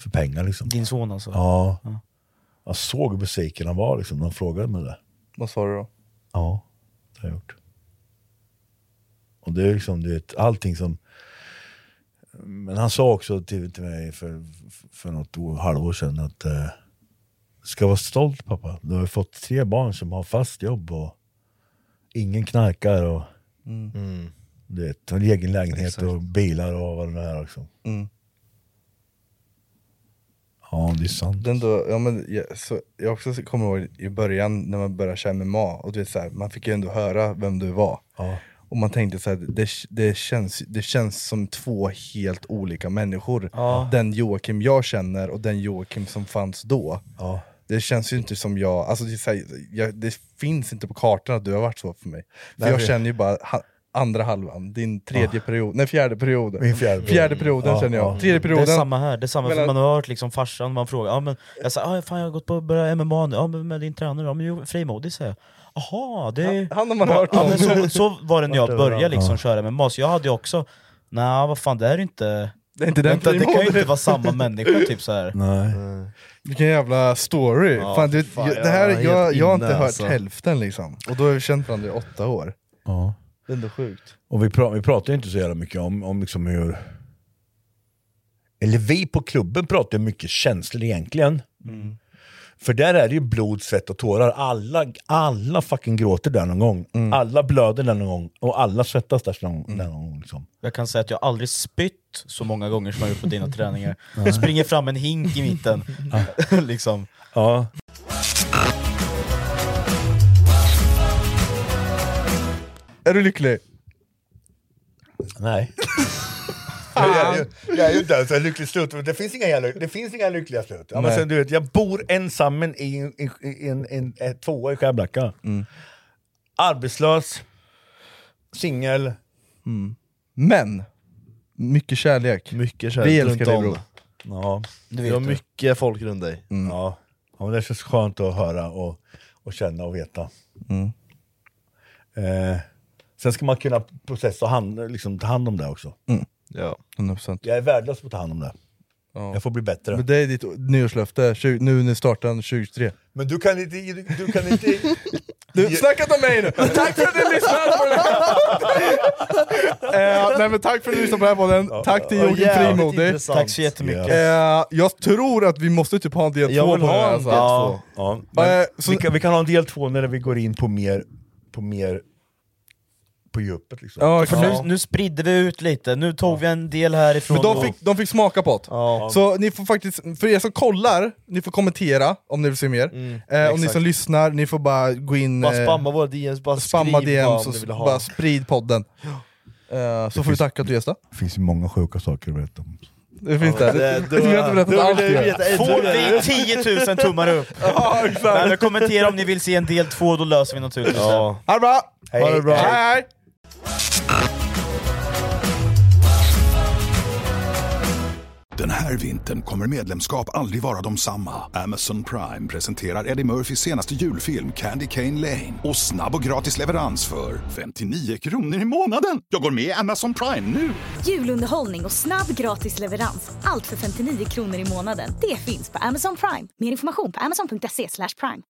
[SPEAKER 2] för pengar. Liksom.
[SPEAKER 3] Din son alltså?
[SPEAKER 2] Ja. Jag såg hur besviken han var liksom, när han frågade mig det.
[SPEAKER 1] Vad sa du då?
[SPEAKER 2] Ja, det har jag gjort. Och det är liksom, du vet, allting som... Men han sa också till, till mig för, för något år, halvår sedan att eh, ska vara stolt pappa. Du har ju fått tre barn som har fast jobb och ingen knarkar och du vet, har egen lägenhet och bilar och vad det nu är. Liksom.
[SPEAKER 1] Mm.
[SPEAKER 2] Ja, det är sant.
[SPEAKER 1] Den då, ja, men, jag, så, jag också kommer ihåg i början när man började köra MMA, och du vet, så här, man fick ju ändå höra vem du var. Och man tänkte så här, det, det, känns, det känns som två helt olika människor.
[SPEAKER 3] Ja.
[SPEAKER 1] Den Joakim jag känner och den Joakim som fanns då. Det känns ju inte som jag, alltså det, är så här, jag, det finns inte på kartan att du har varit så för mig. För
[SPEAKER 2] Nej,
[SPEAKER 1] jag
[SPEAKER 2] för-
[SPEAKER 1] känner ju bara ha, andra halvan, din tredje period, nej fjärde perioden.
[SPEAKER 2] Min fjärde period.
[SPEAKER 1] perioden
[SPEAKER 2] Ja,
[SPEAKER 1] känner jag.
[SPEAKER 2] ja.
[SPEAKER 1] Tredje perioden.
[SPEAKER 3] Det är samma här, det är samma,
[SPEAKER 1] Mellan-
[SPEAKER 3] för man har hört liksom farsan, man frågar ah, men, jag, sa, ah, fan, jag har gått på att börja MMA nu, ah, men med din tränare, ah, men jo, frimodig säger jag. Jaha, det är...
[SPEAKER 1] Han har man hört
[SPEAKER 3] ja,
[SPEAKER 1] om.
[SPEAKER 3] men så, så var det när jag
[SPEAKER 1] Vart överallt.
[SPEAKER 3] började liksom,
[SPEAKER 1] Ja.
[SPEAKER 3] köra MMA, så jag hade ju också, nej vad fan det här är inte...
[SPEAKER 1] Det är inte den
[SPEAKER 3] det kan ju
[SPEAKER 1] frimodig.
[SPEAKER 3] inte vara samma människa typ så här.
[SPEAKER 2] Nej.
[SPEAKER 1] Vilken jävla story!
[SPEAKER 3] Ja,
[SPEAKER 1] fan, du,
[SPEAKER 3] fan,
[SPEAKER 1] jag, det här,
[SPEAKER 3] jag är
[SPEAKER 1] jag, jag,
[SPEAKER 3] helt
[SPEAKER 1] har
[SPEAKER 3] inne,
[SPEAKER 1] inte hört
[SPEAKER 3] alltså.
[SPEAKER 1] hälften liksom, och då har jag känt varandra i åtta år.
[SPEAKER 2] Ja.
[SPEAKER 1] Det är ändå sjukt.
[SPEAKER 2] Och vi, pra- vi pratar ju inte så jävla mycket om, om liksom hur... Eller vi på klubben pratar ju mycket känslor egentligen. För där är det ju blod, svett och tårar. Alla, alla fucking gråter där någon gång. Alla blöder där någon gång. Och alla svettas där någon, där någon gång. Liksom.
[SPEAKER 3] Jag kan säga att jag aldrig spytt så många gånger som jag gjort på dina träningar.
[SPEAKER 2] Nej.
[SPEAKER 3] Springer fram en hink i mitten. liksom.
[SPEAKER 2] Ja.
[SPEAKER 1] Är du lycklig?
[SPEAKER 2] Nej. Jag är, ju, jag är ju inte så här lycklig slut, men det finns inga, jävla, det finns inga lyckliga slut. Ja, men
[SPEAKER 1] Nej.
[SPEAKER 2] sen, du vet, jag bor ensammen i, en- i, i en, en,
[SPEAKER 1] Mm.
[SPEAKER 2] en tvåa i Skärblacka. Arbetslös, singel,
[SPEAKER 1] Men, mycket kärlek.
[SPEAKER 10] Mycket
[SPEAKER 1] Vi
[SPEAKER 10] kärlek
[SPEAKER 1] älskar
[SPEAKER 10] runt
[SPEAKER 1] dig
[SPEAKER 10] om.
[SPEAKER 1] bror. Mm.
[SPEAKER 2] Ja,
[SPEAKER 10] Du vet har det. mycket folk runt dig.
[SPEAKER 2] Ja. ja, men det känns skönt att höra och, och känna och veta.
[SPEAKER 1] Mm.
[SPEAKER 2] Eh, sen ska man kunna processa och hand, liksom, ta hand om det också.
[SPEAKER 1] Mm. Ja. 100%.
[SPEAKER 2] Jag är värdelös på att ta hand om det. Jag får bli bättre.
[SPEAKER 1] Men det är ditt nyårslöfte, tju- nu när starten 2023.
[SPEAKER 2] Men du kan inte... Du, du kan inte
[SPEAKER 1] Du, snacka inte om mig nu! Tack för att ni lyssnade på den här! eh, nej, men tack för att ni lyssnade på den här podden, tack till
[SPEAKER 3] Ja,
[SPEAKER 1] Joakim
[SPEAKER 3] jävligt
[SPEAKER 1] Frimodig.
[SPEAKER 3] intressant. Tack så jättemycket.
[SPEAKER 1] Eh, jag tror att vi måste typ ha en del 2
[SPEAKER 2] Jag
[SPEAKER 1] på
[SPEAKER 2] vill
[SPEAKER 1] det
[SPEAKER 2] ha
[SPEAKER 1] här.
[SPEAKER 2] en
[SPEAKER 1] alltså.
[SPEAKER 2] del två. Ja, men
[SPEAKER 1] Eh, så-
[SPEAKER 2] vi, kan, vi kan ha en del två när vi går in på mer, på mer på djupet liksom.
[SPEAKER 3] för nu, nu spridde vi ut lite, nu tog vi en del härifrån
[SPEAKER 1] Men de fick, de fick smaka på det. Så ni får faktiskt, för er som kollar, ni får kommentera om ni vill se mer. eh, och ni
[SPEAKER 10] exakt.
[SPEAKER 1] som lyssnar, ni får bara gå in...
[SPEAKER 10] Bara
[SPEAKER 1] eh,
[SPEAKER 10] spamma våra DMs, bara
[SPEAKER 1] spamma
[SPEAKER 10] skriv
[SPEAKER 1] DM,
[SPEAKER 10] vad
[SPEAKER 1] så
[SPEAKER 10] ni vill ha.
[SPEAKER 1] bara sprid podden. Eh, så får vi tacka att du gästade.
[SPEAKER 2] Det finns ju många sjuka saker att berätta om.
[SPEAKER 1] Det finns
[SPEAKER 2] Ja,
[SPEAKER 1] det.
[SPEAKER 2] det-
[SPEAKER 1] Du har inte berättat
[SPEAKER 2] då
[SPEAKER 1] allt.
[SPEAKER 2] vill jag veta
[SPEAKER 1] än.
[SPEAKER 3] Får vi 10 000 tummar upp?
[SPEAKER 1] Ja,
[SPEAKER 3] Nej, men kommentera om ni vill se en del två, då löser vi naturligtvis
[SPEAKER 1] Ja. Ha det bra!
[SPEAKER 3] Hej.
[SPEAKER 1] Ha det bra.
[SPEAKER 3] Hej.
[SPEAKER 1] Hej.
[SPEAKER 11] Den här vintern kommer medlemskap aldrig vara de samma. Amazon Prime presenterar Eddie Murphys senaste julfilm Candy Cane Lane. Och snabb och gratis leverans för 59 kronor i månaden. Jag går med i Amazon Prime nu!
[SPEAKER 12] Julunderhållning och snabb gratis leverans. Allt för 59 kronor i månaden. Det finns på Amazon Prime. Mer information på amazon.se slash prime.